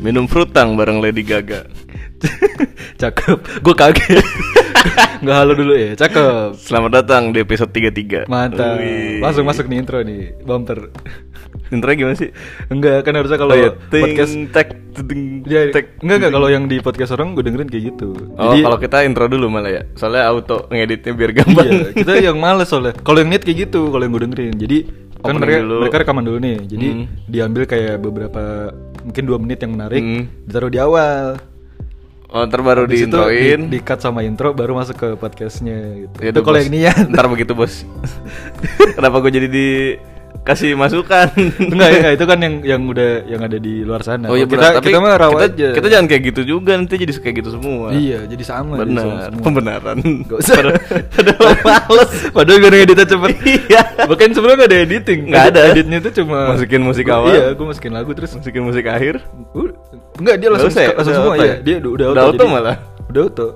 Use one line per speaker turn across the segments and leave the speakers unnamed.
Minum frutang bareng Lady Gaga.
Cakep. Gue kaget. Nggak halo dulu ya. Cakep.
Selamat datang di episode 33.
Mantap.
Wih.
Langsung masuk nih intro nih. Bumper.
Intronya gimana sih?
Enggak kan harusnya kalau
Oh iya, ting,
podcast
tek, ting,
Ya,
tek.
enggak enggak kalau yang di podcast orang gue dengerin kayak gitu.
Oh, kalau kita intro dulu malah ya. Soalnya auto ngeditnya biar gampang.
iya, kita yang males soalnya. Kalau yang niat kayak gitu, kalau yang gue dengerin. Jadi kan
Opening
mereka
dulu.
mereka rekaman dulu nih. Jadi
Hmm.
diambil kayak beberapa mungkin dua menit yang menarik,
Hmm.
ditaruh di awal.
Oh, ntar baru
Habis itu
diintroin.
di, cut sama intro baru masuk ke podcastnya gitu.
Ya
itu
udah,
kalau
bos.
yang niat.
Ntar begitu, Bos. Kenapa gue jadi dikasih masukan?
Enggak, enggak, itu kan yang yang udah yang ada di luar sana.
oh iya
Kalau
benar,
kita
tapi
kita mah rawa
kita,
aja.
kita jangan kayak gitu juga nanti jadi kayak gitu semua.
Iya, jadi sama jadi sama
Benar,
semua.
pembenaran.
Gak usah.
Padahal- Padahal males.
Padahal gue ngeditnya cepet
Iya.
Bahkan sebelum gak ada editing
Nggak ada.
Editnya tuh cuma
Masukin musik
Gua-
awal.
Iya gue masukin lagu terus
Masukin musik akhir.
uh, Enggak dia
Nggak
langsung,
usah ya?
langsung
Udah
semua
auto
ya
ya?
Dia udah, udah
Udah auto
jadi-
malah?
Udah auto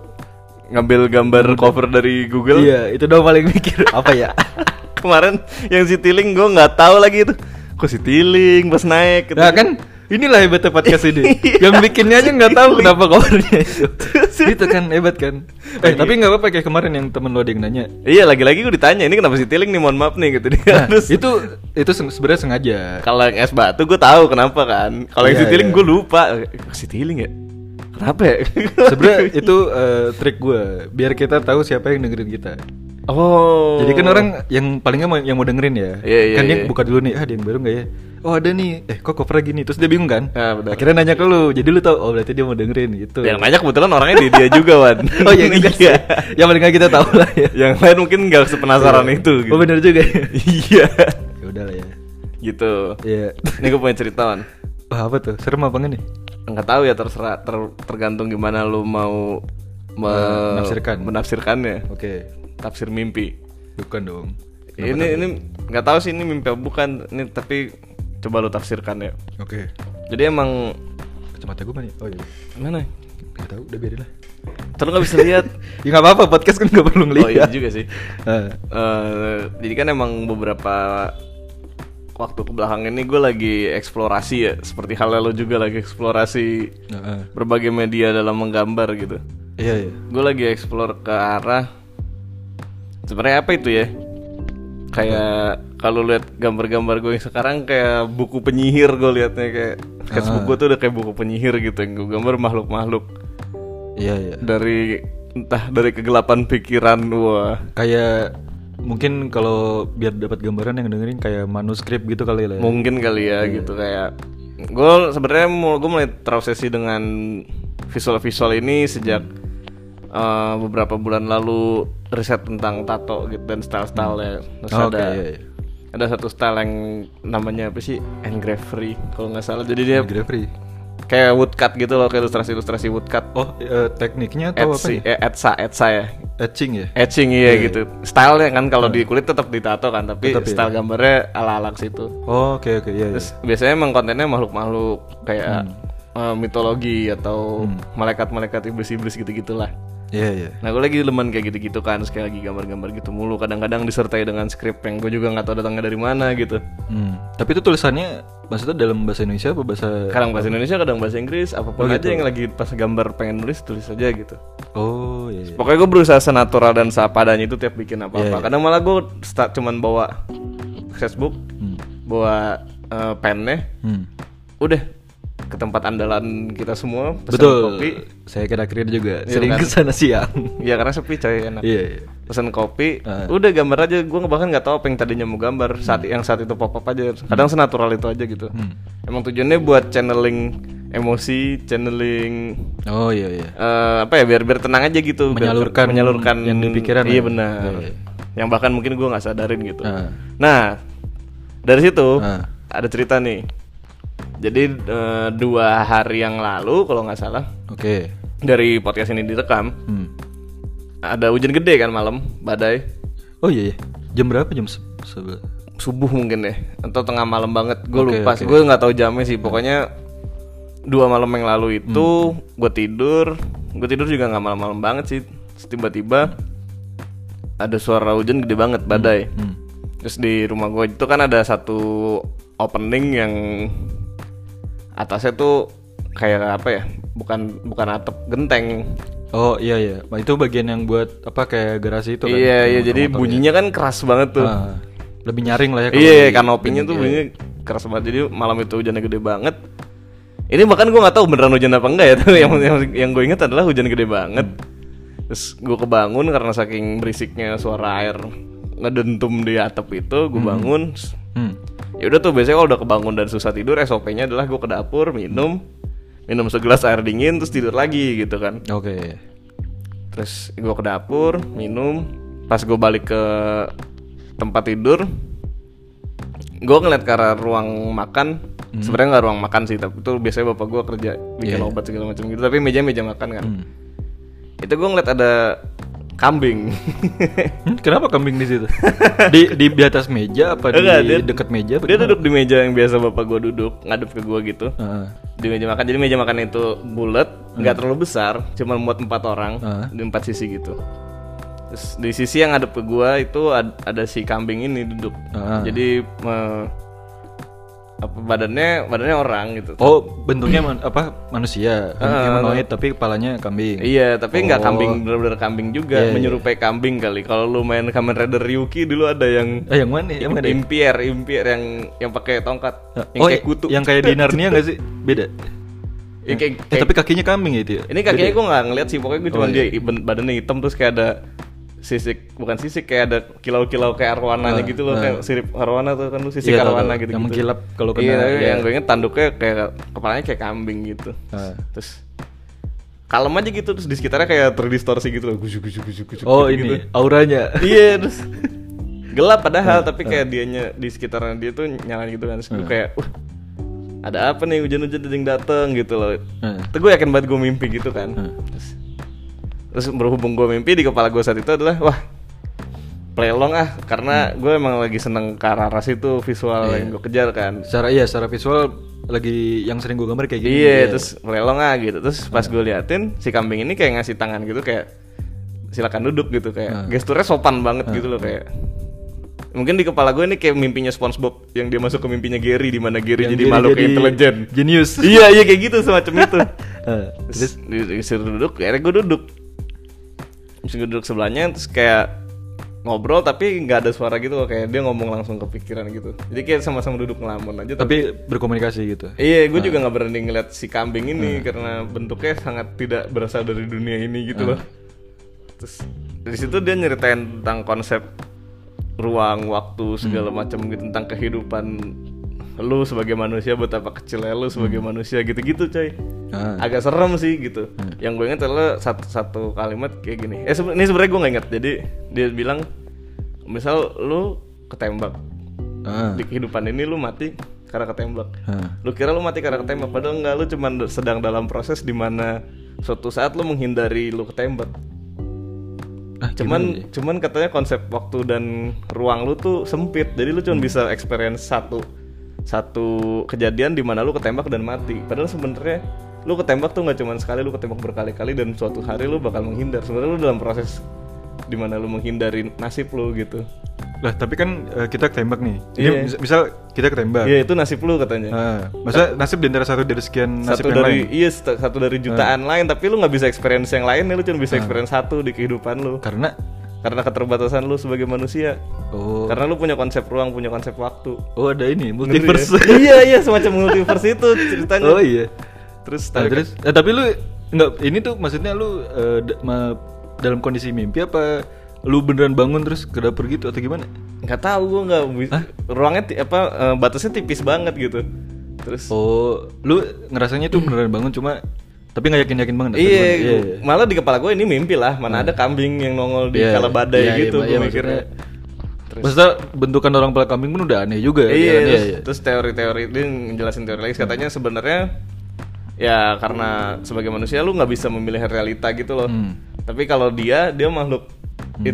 Ngambil gambar cover dari Google.
Iya itu doang paling mikir Apa ya
Kemarin yang si Tiling gue nggak tahu lagi itu. Kok si Tiling pas naik gitu.
Nah kan Inilah hebatnya podcast ini
Iya.
Yang bikinnya aja nggak tahu kenapa covernya itu Itu kan hebat kan Eh tapi nggak apa-apa kayak kemarin yang temen lo ada yang nanya
Iya, lagi-lagi gue ditanya, ini kenapa si Tiling nih mohon maaf nih gitu. Dia
Nah,
harus
itu itu se- sebenarnya sengaja
Kalau yang es batu gue tahu kenapa kan. Kalau yang
Iya,
si tiling
iya.
gue lupa. Eh, Si tiling ya? Kenapa ya?
sebenarnya itu eh, trik gue biar kita tahu siapa yang dengerin kita
oh.
jadi kan orang yang palingnya mau, yang mau dengerin ya
Iya, iya,
kan dia
iya.
buka dulu nih ah ada yang baru nggak ya oh ada nih eh kok covernya gini terus dia bingung kan
Ah, benar.
akhirnya nanya ke lu jadi lu tau oh berarti dia mau dengerin gitu
yang nanya kebetulan orangnya dia, dia juga wan.
oh iya juga sih yang paling nggak kita tahu lah ya
yang lain mungkin nggak sepenasaran itu. Gitu.
oh benar juga
Iya.
ya udah lah ya
gitu.
ya
Ini gue punya cerita wan.
Wah, apa tuh serem apa nggak nih
Nggak tahu ya terserah ter- tergantung gimana lu mau me-
Menafsirkan.
menafsirkannya.
oke
Tafsir mimpi.
bukan dong
ini ini nggak tahu sih ini mimpi apa bukan. Ini tapi coba lu tafsirkan ya.
oke
Jadi emang
kacamata gue mana ya? oh iya
mana?
nggak tahu udah biarin lah
Terus nggak bisa lihat.
ya nggak apa-apa podcast kan nggak perlu
oh iya
ngeliat
juga sih.
Eh,
Eh, jadi kan emang beberapa waktu kebelakang ini gue lagi eksplorasi ya, seperti halnya lo juga lagi eksplorasi
eh,
berbagai media dalam menggambar gitu.
iya iya
Gue lagi explore ke arah sebenarnya apa itu ya? Kayak kalau lihat gambar-gambar gue yang sekarang kayak buku penyihir gue liatnya kayak sketchbook gue tuh udah kayak buku penyihir gitu yang gue gambar makhluk-makhluk.
iya iya
dari entah dari kegelapan pikiran wah
kayak mungkin kalau biar dapat gambaran yang dengerin kayak manuskrip gitu kali lah ya.
mungkin kali ya gitu kayak gue sebenarnya mau gue mulai terobsesi dengan visual visual ini sejak eh, beberapa bulan lalu riset tentang tato gitu dan style style terus
Oh, oke,
ada
iya, iya.
ada satu style yang namanya apa sih engravery kalau nggak salah jadi dia
Graffiti.
kayak woodcut gitu loh kayak ilustrasi ilustrasi woodcut
Oh, eh, tekniknya atau apa
etsi eh, etsa etsa ya
Etching ya?
etching iya gitu stylenya kan kalau di kulit tetap ditato kan tapi
Iya. Tetap, iya.
style gambarnya ala ala situ
Oh, oke oke iya. Hmm. iya.
terus biasanya emang kontennya makhluk makhluk kayak eh, mitologi atau
Hmm.
malaikat malaikat iblis iblis gitu gitulah
Iya iya.
nah gue lagi leman kayak gitu gitu kan sekali lagi gambar gambar gitu mulu kadang-kadang disertai dengan skrip yang gue juga nggak tahu datangnya dari mana gitu
Hmm. Tapi itu tulisannya maksudnya dalam bahasa Indonesia apa bahasa
kadang bahasa Indonesia kadang bahasa Inggris apapun aja
gitu.
yang lagi pas gambar pengen nulis tulis aja gitu
Oh, iya. iya.
Pokoknya gue berusaha senatural dan sepadanya itu tiap bikin apa-apa. Kadang malah gue start cuman bawa sketchbook, bawa eh, pennya,
Hmm.
udah ke tempat andalan kita semua pesan
Betul.
kopi.
Saya kira akhir juga
Iya,
sering
kan?
kesana siang.
Ya karena sepi coy enak.
Iya Eh. iya.
Pesan kopi, udah gambar aja. Gue bahkan nggak tahu apa yang tadinya mau gambar
Hmm.
saat yang saat itu pop up aja. Kadang senatural itu aja gitu. Emang tujuannya buat channeling emosi, channeling
Oh, iya iya.
eh apa ya biar biar tenang aja gitu biar
Menyalurkan
ter- menyalurkan
yang di pikiran
iya
ya.
benar
Iya, iya.
yang bahkan mungkin gue nggak sadarin gitu
Ah.
nah dari situ
Ah.
ada cerita nih jadi eh, dua hari yang lalu kalau nggak salah
Oke.
dari podcast ini direkam
Hmm.
ada hujan gede kan malam badai
Oh iya iya. Jam berapa? Jam se- sebelas.
subuh mungkin deh atau tengah malam banget gue
Oke,
lupa sih gue nggak tahu jamnya sih pokoknya dua malam yang lalu itu
Hmm.
gue tidur gue tidur juga nggak malam-malam banget sih Terus tiba-tiba ada suara hujan gede banget badai
Hmm.
terus di rumah gue itu kan ada satu opening yang atasnya tuh kayak apa ya bukan bukan atap genteng
Oh iya iya, Nah, itu bagian yang buat apa kayak garasi itu kan?
iya iya
Yang
jadi
motor-motor
bunyinya kan keras banget
ya.
tuh
Ah, lebih nyaring lah ya. kalau
Iya,
di-
kanopinya tuh bunyinya keras banget. Jadi malam itu hujannya gede banget. Ini bahkan gue nggak tahu beneran hujan apa enggak ya, tapi yang yang, yang gue ingat adalah hujan gede banget. Terus gue kebangun karena saking berisiknya suara air ngedentum di atap itu, gue bangun.
Hmm.
Ya udah tuh biasanya kalau udah kebangun dan susah tidur, SOP-nya adalah gue ke dapur minum minum segelas air dingin terus tidur lagi gitu kan.
Oke.
Terus gue ke dapur, minum. Pas gue balik ke tempat tidur, gue ngeliat ke arah ruang makan. Sebenarnya nggak ruang makan sih, tapi itu biasanya bapak gue kerja bikin
Hmm. Iya, iya.
obat segala macam gitu. Tapi meja meja makan kan.
Hmm.
Itu gue ngeliat ada kambing.
Hmm, kenapa kambing di situ? di, di di atas meja apa di
Enggak, dia-
dekat meja? apa
Dia
gimana?
duduk di meja yang biasa bapak gue duduk, ngadep ke gue gitu.
Ah,
Di meja makan, jadi meja makan itu bulat, nggak terlalu besar, cuma muat empat orang
Hmm. Heeh.
di empat sisi gitu. Terus di sisi yang ngadep ke gua itu ad- ada si kambing ini duduk.
Heeh.
Jadi me- apa badannya badannya orang gitu.
Oh bentuknya man- apa manusia
Ah.
humanoid tapi kepalanya kambing.
Iya, tapi nggak
Oh.
kambing bener-bener kambing juga,
Iya, iya.
menyerupai kambing kali. Kalau lu main Kamen Rider Ryuki dulu ada yang
Eh yang mana? Yang mana?
impier, impier yang yang pakai tongkat, yang
oh,
kayak kutu.
Yang kayak di Narnia nggak sih? Beda.
Yang kayak-
Eh, tapi kakinya kambing ya itu ya?
Ini kakinya gue nggak ngeliat sih, pokoknya
Oh,
gue cuma
iya.
dia ben- badannya hitam terus kayak ada sisik, bukan sisik kayak ada kilau-kilau kayak arwananya gitu loh, kayak sirip arwana tuh kan lu sisik
Ah, Iya, tau,
arwana
tau.
gitu.
Yang mengkilap kalau kena,
Iya, tapi
iya.
yang gue inget tanduknya kayak kepalanya kayak kambing gitu.
Ah.
Terus kalem aja gitu terus di sekitarnya kayak terdistorsi gitu loh, gusuk gusuk gusuk gusuk.
Oh
gitu,
ini
gitu.
auranya.
Iya, terus gelap
Ah,
padahal tapi kayak dianya di sekitarnya dia tuh nyala gitu kan. Terus gue kayak wah ada apa nih hujan-hujan ada yang dateng gitu loh.
Ah.
Itu gue yakin banget gue mimpi gitu kan.
Hmm.
Terus, terus berhubung gue mimpi di kepala gue saat itu adalah wah pelelong ah karena gue emang lagi seneng ke arah arah situ visual yang gue kejar kan.
Secara iya secara visual lagi yang sering gue gambar kayak gini.
Iya, terus pelelong ah gitu. Terus pas gue liatin si kambing ini kayak ngasih tangan gitu kayak silakan duduk gitu kayak gesturnya sopan banget gitu loh kayak. Mungkin di kepala gue ini kayak mimpinya SpongeBob yang dia masuk ke mimpinya Gary di mana Gary
Yang
jadi
dia
makhluk yang intelijen.
Genius.
iya, iya kayak gitu semacam itu.
Eh,
Terus di- disuruh duduk, ya akhirnya gue duduk Terus gue duduk sebelahnya, terus kayak ngobrol tapi nggak ada suara gitu loh Kayak dia ngomong langsung kepikiran gitu Jadi kayak sama-sama duduk ngelamun aja tapi,
tapi berkomunikasi gitu.
Iya, gue juga nggak berani ngeliat si kambing ini Karena bentuknya sangat tidak berasal dari dunia ini gitu loh Terus dari situ dia nyeritain tentang konsep ruang, waktu, segala macam gitu Tentang kehidupan lu sebagai manusia, betapa kecilnya lu sebagai manusia gitu-gitu coy
Ah.
agak serem sih gitu. Yang gue inget adalah satu, satu kalimat kayak gini. Eh sebe- ini sebenarnya gue nggak inget. Jadi dia bilang, misal lu ketembak
Ah.
di kehidupan ini lu mati karena ketembak.
Ah.
Lu kira lu mati karena ketembak, padahal enggak lu cuman d- sedang dalam proses dimana suatu saat lu menghindari lu ketembak.
Ah,
Cuman cuman katanya konsep waktu dan ruang lu tuh sempit. Jadi lu
Hmm.
cuman bisa experience satu satu kejadian di mana lu ketembak dan mati. Padahal sebenarnya lu ketembak tuh nggak cuman sekali, lu ketembak berkali-kali dan suatu hari lu bakal menghindar. Sebenarnya lu dalam proses di mana lu menghindari nasib lu gitu.
Lah tapi kan eh, kita ketembak nih. Jadi
Iya.
mis- misal kita ketembak.
Iya, itu nasib lu katanya.
Ah, masa nasib di antara satu dari sekian nasib
satu
yang
dari
lain? Eh.
iya st- satu dari jutaan lain, tapi lu nggak bisa experience yang lain, lu cuma bisa experience satu di kehidupan lu.
Karena
Karena keterbatasan lu sebagai manusia.
oh
Karena lu punya konsep ruang, punya konsep waktu.
oh ada ini
Ngeri ya?
multiverse.
iya iya semacam multiverse itu ceritanya.
oh iya.
Terus
Nah,
tarik-
terus eh, tapi lu nggak ini tuh maksudnya lu eh, da- ma- dalam kondisi mimpi apa lu beneran bangun terus ke dapur gitu atau gimana?
nggak tahu gua nggak bi- ruangnya ti- apa eh, batasnya tipis banget gitu. Terus
Oh, lu ngerasanya tuh beneran bangun cuma tapi nggak yakin-yakin banget. atau
iya,
gimana?
gua- malah di kepala gue ini mimpi lah. Mana ada kambing yang nongol di
Iya,
kala badai
iya, iya,
gitu gua
iya, maksudnya-
mikirnya.
Maksudnya bentukan orang pala kambing pun udah aneh juga.
Iya,
kan?
terus, terus teori-teori dia ngejelasin teori lagi katanya sebenarnya ya karena sebagai manusia lu nggak bisa memilih realita gitu loh.
Hmm.
Tapi kalau dia dia makhluk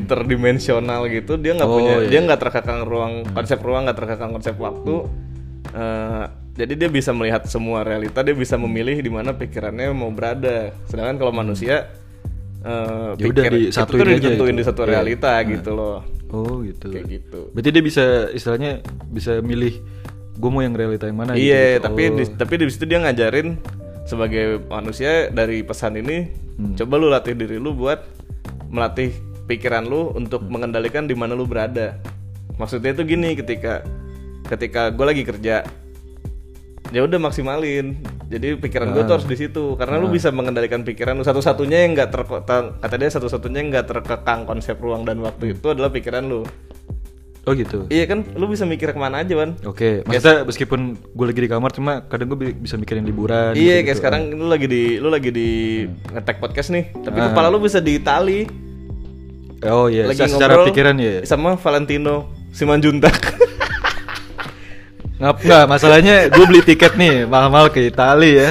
interdimensional gitu, dia nggak
Oh,
punya
iya.
dia nggak terkekang ruang konsep ruang nggak terkekang konsep waktu. Eh, jadi dia bisa melihat semua realita, dia bisa memilih di mana pikirannya mau berada. Sedangkan kalau manusia eh
Ya udah,
itu
disatuin
tuh udah
aja
ditentuin
itu.
di satu
Iya.
realita gitu loh.
Oh gitu.
Kayak gitu.
Berarti dia bisa istilahnya bisa milih gue mau yang realita yang mana.
iya,
gitu.
tapi di, tapi di situ dia ngajarin sebagai manusia dari pesan ini coba lu latih diri lu buat melatih pikiran lu untuk mengendalikan di mana lu berada. Maksudnya itu gini ketika ketika gue lagi kerja ya udah maksimalin jadi pikiran gue tuh harus di situ karena lu bisa mengendalikan pikiran lu satu-satunya yang nggak terkekang kata dia satu-satunya yang nggak terkekang konsep ruang dan waktu itu adalah pikiran lu
Oh gitu.
iya kan lu bisa mikir kemana aja kan
Oke, maksudnya meskipun gue lagi di kamar cuma kadang gue bisa mikirin liburan.
Iya kayak sekarang
eh.
lu lagi di lu lagi di
Hmm.
ngetek podcast nih, tapi kepala lu bisa di Itali
Oh Ah. iya,
lagi
secara, secara
ngobrol
pikiran ya.
sama Valentino Simanjuntak.
Ngap nggak masalahnya gue beli tiket nih mahal-mahal ke Itali ya.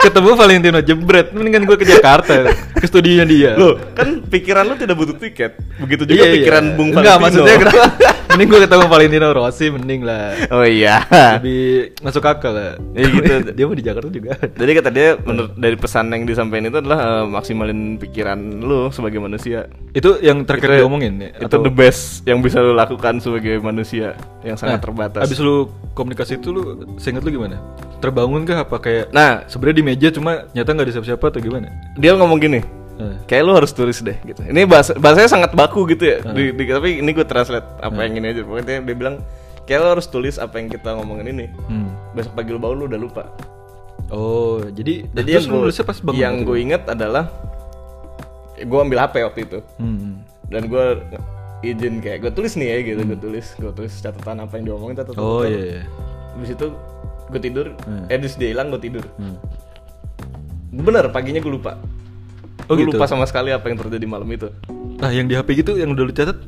Ketemu Valentino jebret, mendingan gue ke Jakarta ke studionya dia.
Loh, kan pikiran lu tidak butuh tiket. Begitu juga
Iya, iya.
pikiran Bung Valentino.
Nggak, maksudnya kenapa? mending gue ketemu Valentino Rossi mending lah.
Oh iya.
Lebih masuk akal lah.
Ya gitu.
dia mau di Jakarta juga.
Jadi kata dia menurut dari pesan yang disampaikan itu adalah eh, maksimalin pikiran lu sebagai manusia.
Itu yang
Itu-
terakhir diomongin ya?
Itu the best yang bisa lu lakukan sebagai manusia yang sangat
Nah,
terbatas.
Abis lu komunikasi itu lu seinget lu gimana? Terbangun kah apa kayak
Nah,
sebenarnya di meja cuma nyata nggak ada siapa-siapa atau gimana?
dia ngomong gini.
Eh,
kayak lu harus tulis deh gitu ini bahasa bahasanya sangat baku gitu ya
Hmm.
di, di- tapi ini gue translate apa yang ini aja pokoknya dia bilang kayak lu harus tulis apa yang kita ngomongin ini
hmm.
besok pagi lu bangun lu udah lupa
Oh, jadi
jadi yang
terus lu
gue
nulisnya pas bangun.
yang gue inget adalah gue ambil hp waktu itu
Hmm.
dan gue izin kayak gue tulis nih ya gitu gue tulis gue tulis catatan apa yang diomongin catatan
Hmm. Oh
catatan.
iya. iya.
Habis itu gue tidur
Hmm.
eh terus dia hilang gue tidur
Hmm.
bener paginya gue lupa
Oh,
gue
gitu.
lupa sama sekali apa yang terjadi malam itu
Nah, yang di HP gitu yang udah lu catat?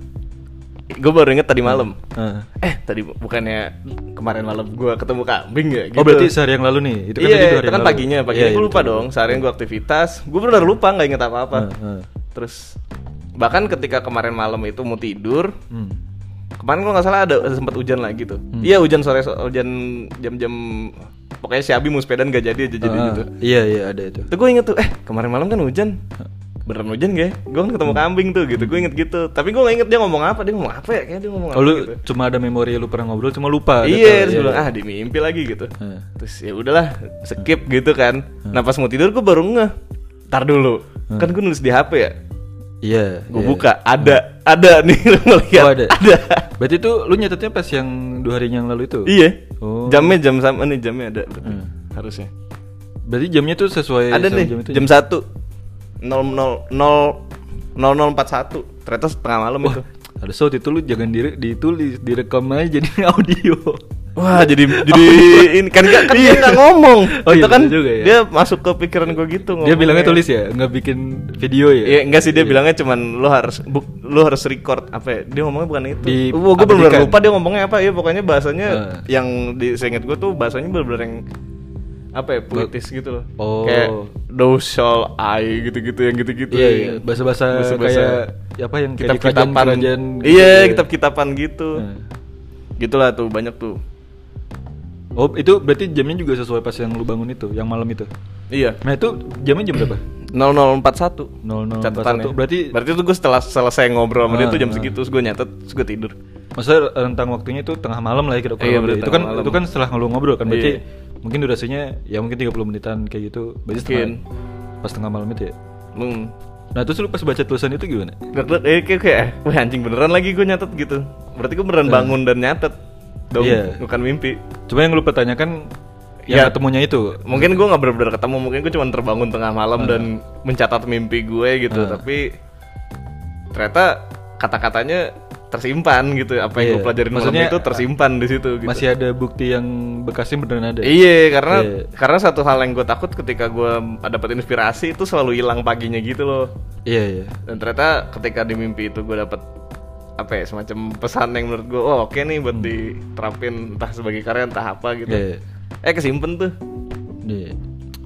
gue baru inget tadi malam
Ah.
eh tadi bu- bukannya kemarin malam gua ketemu kambing ya gitu.
Oh berarti sehari yang lalu nih? Itu kan
iya
tadi tuh hari
itu
yang
kan
lalu.
paginya paginya
Iya, iya,
gue lupa
betul.
dong seharian gua aktivitas gue benar lupa nggak inget apa apa
Ah, ah.
terus bahkan ketika kemarin malam itu mau tidur
Hmm.
kemarin kalau nggak salah ada, ada sempat hujan lagi tuh iya hujan sore so- hujan jam-jam pokoknya si Abi mau sepedaan gak jadi aja jadi
Ah,
gitu
Iya iya ada itu.
tuh gue inget tuh eh kemarin malam kan hujan beneran hujan gak ya? Gue kan ketemu kambing tuh gitu, gue inget gitu Tapi gue gak inget dia ngomong apa, dia ngomong apa ya? Kayaknya dia ngomong
Oh
apa
lu
gitu
cuma ada memori lu pernah ngobrol cuma lupa. gitu.
iya terus bilang ah di mimpi lagi gitu
Hmm.
terus ya udahlah skip gitu kan nah pas mau tidur gue baru ngeh tar dulu kan gue nulis di hp ya
Iya.
gue
iya.
buka ada ada nih lu mau lihat
Oh, ada. Berarti itu lu nyatetnya pas yang dua hari yang lalu itu?
iya
Oh.
jamnya jam sama nih jamnya ada berarti. harusnya
Berarti jamnya tuh sesuai
ada nih
sama Oh, iya, jam itu. ya.
jam satu nol nol nol nol nol empat satu ternyata setengah malam itu
Ada saut itu lu jangan diri ditulis, direkam aja jadi audio.
Wah jadi jadi ini kan nggak kan dia nggak ngomong
iya. Oh, iya,
itu kan
bener juga ya.
dia masuk ke pikiran gue gitu
Dia
ngomongnya.
bilangnya tulis ya, nggak bikin video ya.
Iya enggak sih dia bilangnya cuman lu harus bu, lu harus record apa ya? Dia ngomongnya bukan itu.
Di-
Wah, gue benar
abadikan.
lupa dia ngomongnya apa. Ya pokoknya bahasanya
Nah.
yang di seingat gue tuh bahasanya benar-benar yang apa ya puitis gitu loh.
Oh.
Kayak thou shall I gitu-gitu yang gitu-gitu.
Iya,
ya.
iya. Bahasa-bahasa kayak ya apa yang kayak di
kitab-kitapan.
kerajaan-kerajaan gitu
iya,
ya.
kitab-kitapan gitu.
Nah.
Gitulah tuh banyak tuh.
Oh, itu berarti jamnya juga sesuai pas yang lu bangun itu, yang malam itu.
Iya.
Nah, itu jamnya jam berapa?
0041
0041.
catatannya.
Berarti
berarti tuh gue setelah selesai ngobrol sama dia
Ah,
tuh jam
ah.
segitu, terus gue nyatet, terus gue tidur.
Maksudnya rentang waktunya itu tengah malam lah ya kira-kira.
Iya, berarti
itu
tengah
kan
malam.
itu kan setelah lu ngobrol kan berarti
Iya.
mungkin durasinya ya mungkin 30 menitan kayak gitu. Berarti setengah, pas tengah malam itu ya.
Hmm.
Nah, terus lu pas baca tulisan itu gimana?
Deg-deg, eh, kayak, kayak, wah anjing beneran lagi gue nyatet gitu Berarti gue beneran bangun dan nyatet Dong,
Iya.
bukan mimpi
Cuma yang lu pertanyakan
Ya.
yang ketemunya itu.
Mungkin gue gak bener-bener ketemu, mungkin gue cuma terbangun tengah malam dan
Iya.
mencatat mimpi gue gitu Tapi ternyata kata-katanya tersimpan gitu Apa yang
Iya.
gue pelajarin malam
Maksudnya,
itu tersimpan di situ gitu
Masih ada bukti yang bekasnya beneran ada.
Iya, karena
Iya.
karena satu hal yang gue takut ketika gue dapat inspirasi itu selalu hilang paginya gitu loh
Iya, iya.
dan ternyata ketika di mimpi itu gue dapet apa ya semacam pesan yang menurut gue oh oke nih buat diterapin entah sebagai karya entah apa gitu
Hmm. Iya, iya.
eh kesimpan tuh
Iya.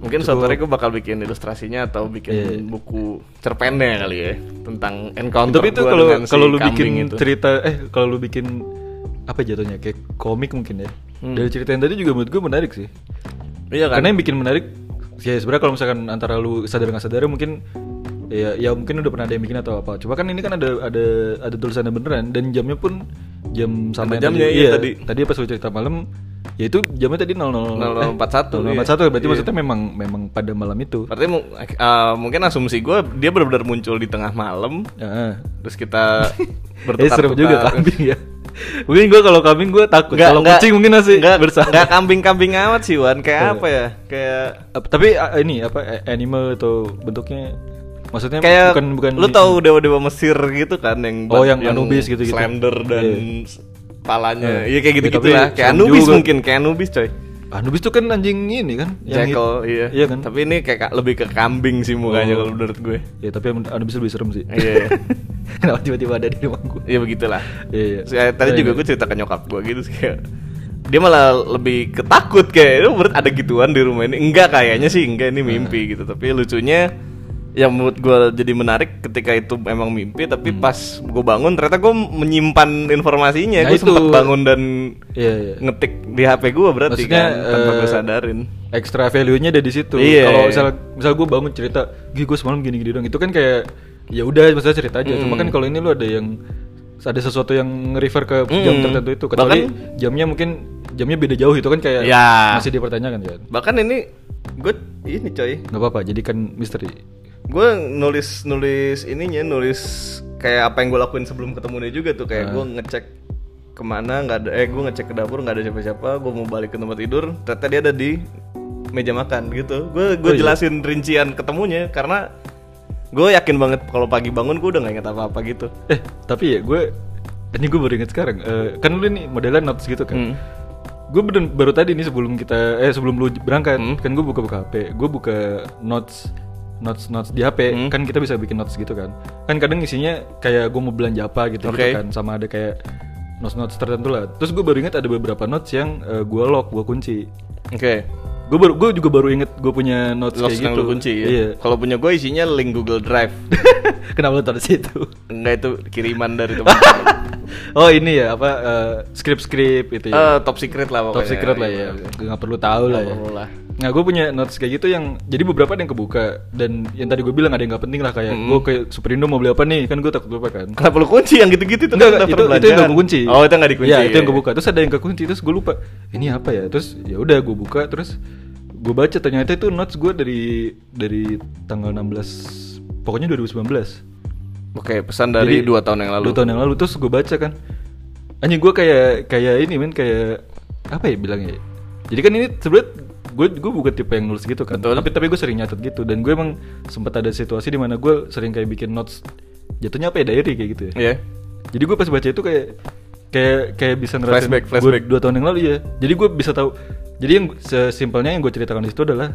mungkin suatu hari gue bakal bikin ilustrasinya atau bikin
Iya.
buku cerpennya kali ya tentang encounter
Tapi itu
gua
kalau
dengan si
kalau lu
kambing
bikin
itu.
cerita eh kalau lu bikin apa jatuhnya kayak komik mungkin ya.
Hmm.
Dari cerita yang tadi juga menurut gue menarik sih.
iya kan
Karena yang bikin menarik ya sebenarnya kalau misalkan antara lu sadar nggak sadar mungkin ya ya mungkin udah pernah ada yang bikin atau apa. Coba kan ini kan ada ada ada tulisannya beneran dan jamnya pun jam sama
Ada jamnya,
tadi.
iya, tadi.
Tadi pas lu cerita malam Ya itu jamnya tadi Eh, 00
0041, iya.
0041 berarti
Iya.
maksudnya memang memang pada malam itu.
Berarti mu- eh, mungkin asumsi gue dia benar-benar muncul di tengah malam
Heeh.
terus kita
Eh Ya,
bertukar-tukar.
serem juga kambing ya. Mungkin gue kalau kambing gue takut.
Nggak-
Kalau
nggak-
kucing mungkin masih
nggak-
bersahabat.
nggak kambing-kambing amat sih Wan
Iya.
kayak apa ya kayak
Ap- tapi a- ini apa a- animal atau bentuknya maksudnya
kayak
bukan bukan
lu tahu dewa-dewa Mesir gitu kan yang
Oh, yang Anubis gitu-gitu.
slender dan
Iya.
palanya iya
Iya.
kayak
Iya,
gitu gitu
tapi
lah kayak
serem
Anubis
juga.
mungkin kayak Anubis coy
Anubis tuh kan anjing ini kan yang
Jackal
hit-
iya
iya kan
tapi ini kayak ka- lebih ke kambing sih mukanya
Oh.
kalau menurut gue
ya tapi Anubis lebih serem sih
iya
kenapa tiba-tiba ada di rumah gue
iya begitulah
iya iya
Terus, eh, tadi juga gue cerita ke nyokap gue gitu sih kayak dia malah lebih ketakut kayak lu menurut ada gituan di rumah ini enggak kayaknya sih enggak ini
Hmm.
mimpi gitu tapi lucunya yang menurut gue jadi menarik ketika itu emang mimpi tapi
Hmm.
pas gue bangun ternyata gue menyimpan informasinya
Nah,
gue
itu.
sempat bangun dan
iya iya
ngetik di hp gue berarti
Maksudnya,
kan tanpa gue
eh,
sadarin
extra value-nya ada di situ.
Iya.
Kalau misal misal gue bangun cerita, "Gi, gue semalam gini-gini dong." Itu kan kayak ya udah maksudnya cerita aja. Cuma
Hmm.
kan kalau ini lu ada yang ada sesuatu yang refer ke
Mm.
jam tertentu itu kecuali jamnya mungkin jamnya beda jauh itu kan kayak
Ya.
masih dipertanyakan kan.
bahkan ini gue ini coy
Gak apa-apa, jadikan misteri.
gue nulis nulis ininya nulis kayak apa yang gue lakuin sebelum ketemu dia juga tuh kayak gue ngecek kemana nggak ada eh gue ngecek ke dapur nggak ada siapa-siapa gue mau balik ke tempat tidur ternyata dia ada di meja makan gitu gue gue
Oh, iya.
jelasin rincian ketemunya karena gue yakin banget kalau pagi bangun gue udah nggak inget apa-apa gitu
Eh, tapi ya gue ini gue baru inget sekarang. Eh, kan lu nih modelan notes gitu
Hmm.
kan. Gue bener baru tadi nih sebelum kita eh sebelum lu berangkat
Hmm.
kan gue buka buka HP, gue buka notes notes notes di HP
Hmm.
kan kita bisa bikin notes gitu kan. Kan kadang isinya kayak gue mau belanja apa gitu,
Oke.
kan sama ada kayak notes notes tertentu lah. Terus gue baru inget ada beberapa notes yang eh, gue lock, gue kunci.
oke
Gue baru gue juga baru inget gue punya notes
Locks
kayak
yang
gitu.
lu kunci ya
Iya.
kalau punya gue isinya link Google Drive
Kenapa lu taruh di situ?
enggak itu kiriman dari teman
Oh ini ya apa script script itu ya.
Eh, top secret lah pokoknya
Top secret lah ya. Gak perlu tahu lah ya.
iya, perlu lah.
Nah gue punya notes kayak gitu yang jadi beberapa ada yang kebuka dan yang tadi gue bilang ada yang nggak penting lah kayak gue ke Superindo mau beli apa nih kan gue takut lupa kan.
Kenapa lu kunci yang gitu-gitu
Enggak,
kan daftar
enggak, itu, itu yang
belanjaan.
gak kunci.
Oh, itu enggak dikunci.
Iya, itu yang kebuka. Terus ada yang kekunci, terus gue lupa. Ini apa ya? Terus ya udah gue buka, terus gue baca ternyata itu notes gue dari dari tanggal 16 pokoknya 2019
Oke, pesan dari
Jadi,
dua tahun yang lalu.
dua tahun yang lalu terus gue baca kan anjing gue kayak kayak ini men kayak apa ya bilangnya ya? jadi kan ini sebenernya gue gue bukan tipe yang nulis gitu kan
Betul.
tapi tapi gue sering nyatet gitu dan gue emang sempat ada situasi di mana gue sering kayak bikin notes jatuhnya apa ya diary kayak gitu ya
Iya.
jadi gue pas baca itu kayak kayak kayak bisa ngerasain
Flashback,
gua
flashback.
dua tahun yang lalu ya jadi gue bisa tahu jadi yang sesimpelnya yang gue ceritakan di situ adalah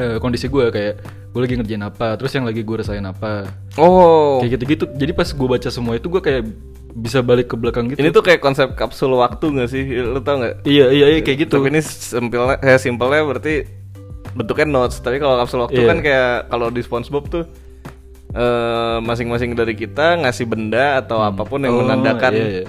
eh, kondisi gue kayak gue lagi ngerjain apa terus yang lagi gue rasain apa
Oh.
kayak gitu-gitu jadi pas gue baca semua itu gue kayak bisa balik ke belakang gitu
Ini tuh kayak konsep kapsul waktu gak sih? Lu tau gak?
iya iya iya kayak gitu
Tapi ini simpelnya, eh, simpelnya berarti bentuknya notes. Tapi kalau kapsul waktu
Iya.
kan kayak kalau di SpongeBob tuh eh, masing-masing dari kita ngasih benda atau apapun yang
Oh,
menandakan
iya, iya.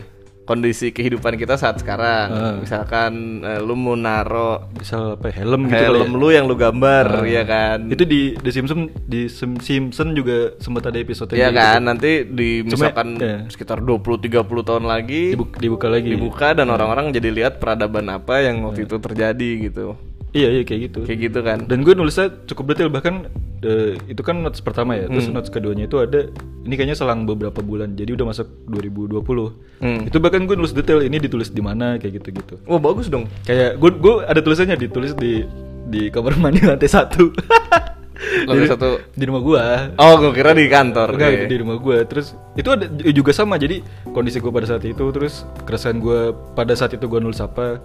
kondisi kehidupan kita saat sekarang.
Ah.
Misalkan eh, lu mau naro
misal apa ya, helm gitu kali
helm
ya.
lu yang lu gambar, ya kan?
itu di The Simpson di Sim- Simpson juga sempat ada episode
Iya
yang gitu.
kan, nanti di
Cuma,
misalkan
iya.
sekitar 20-30 tahun lagi Hmm.
Dibu- dibuka lagi
dibuka dan orang-orang jadi lihat peradaban apa yang waktu itu terjadi gitu.
iya iya kayak gitu
Kayak gitu kan.
dan gue nulisnya cukup detail bahkan eh, itu kan notes pertama ya terus
Hmm.
notes keduanya itu ada ini kayaknya selang beberapa bulan jadi udah masuk 2020
Hmm.
itu bahkan gue nulis detail ini ditulis di mana kayak gitu gitu
Wah, Oh, bagus dong.
Kayak gue gue ada tulisannya ditulis di di kamar mandi lantai satu.
Lantai
Di-
satu.
di rumah gua.
Oh, gue kira di kantor.
Enggak
Oke.
itu di rumah gua. Terus itu ada ju- juga sama. Jadi kondisi gua pada saat itu terus keresahan gua pada saat itu gua nulis apa.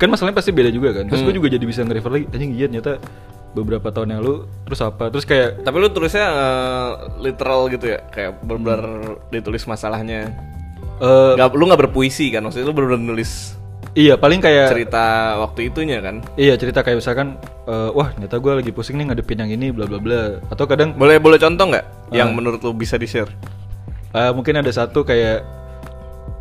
Kan masalahnya pasti beda juga kan. Terus
Hmm.
gua juga jadi bisa nge-refer lagi. Anjing iya ternyata beberapa tahun yang lalu terus apa? Terus kayak
Tapi lu tulisnya eh, literal gitu ya, kayak benar ditulis masalahnya.
eh,
Nggak- lu nggak berpuisi kan? Maksudnya lu benar nulis
iya paling
Ya.
kayak
cerita waktu itunya kan.
Iya cerita kayak misalkan eh, wah ternyata gua lagi pusing nih ngadepin yang ini bla bla bla atau kadang
Boleh boleh contoh nggak yang menurut lu bisa di-share?
Eh, mungkin ada satu kayak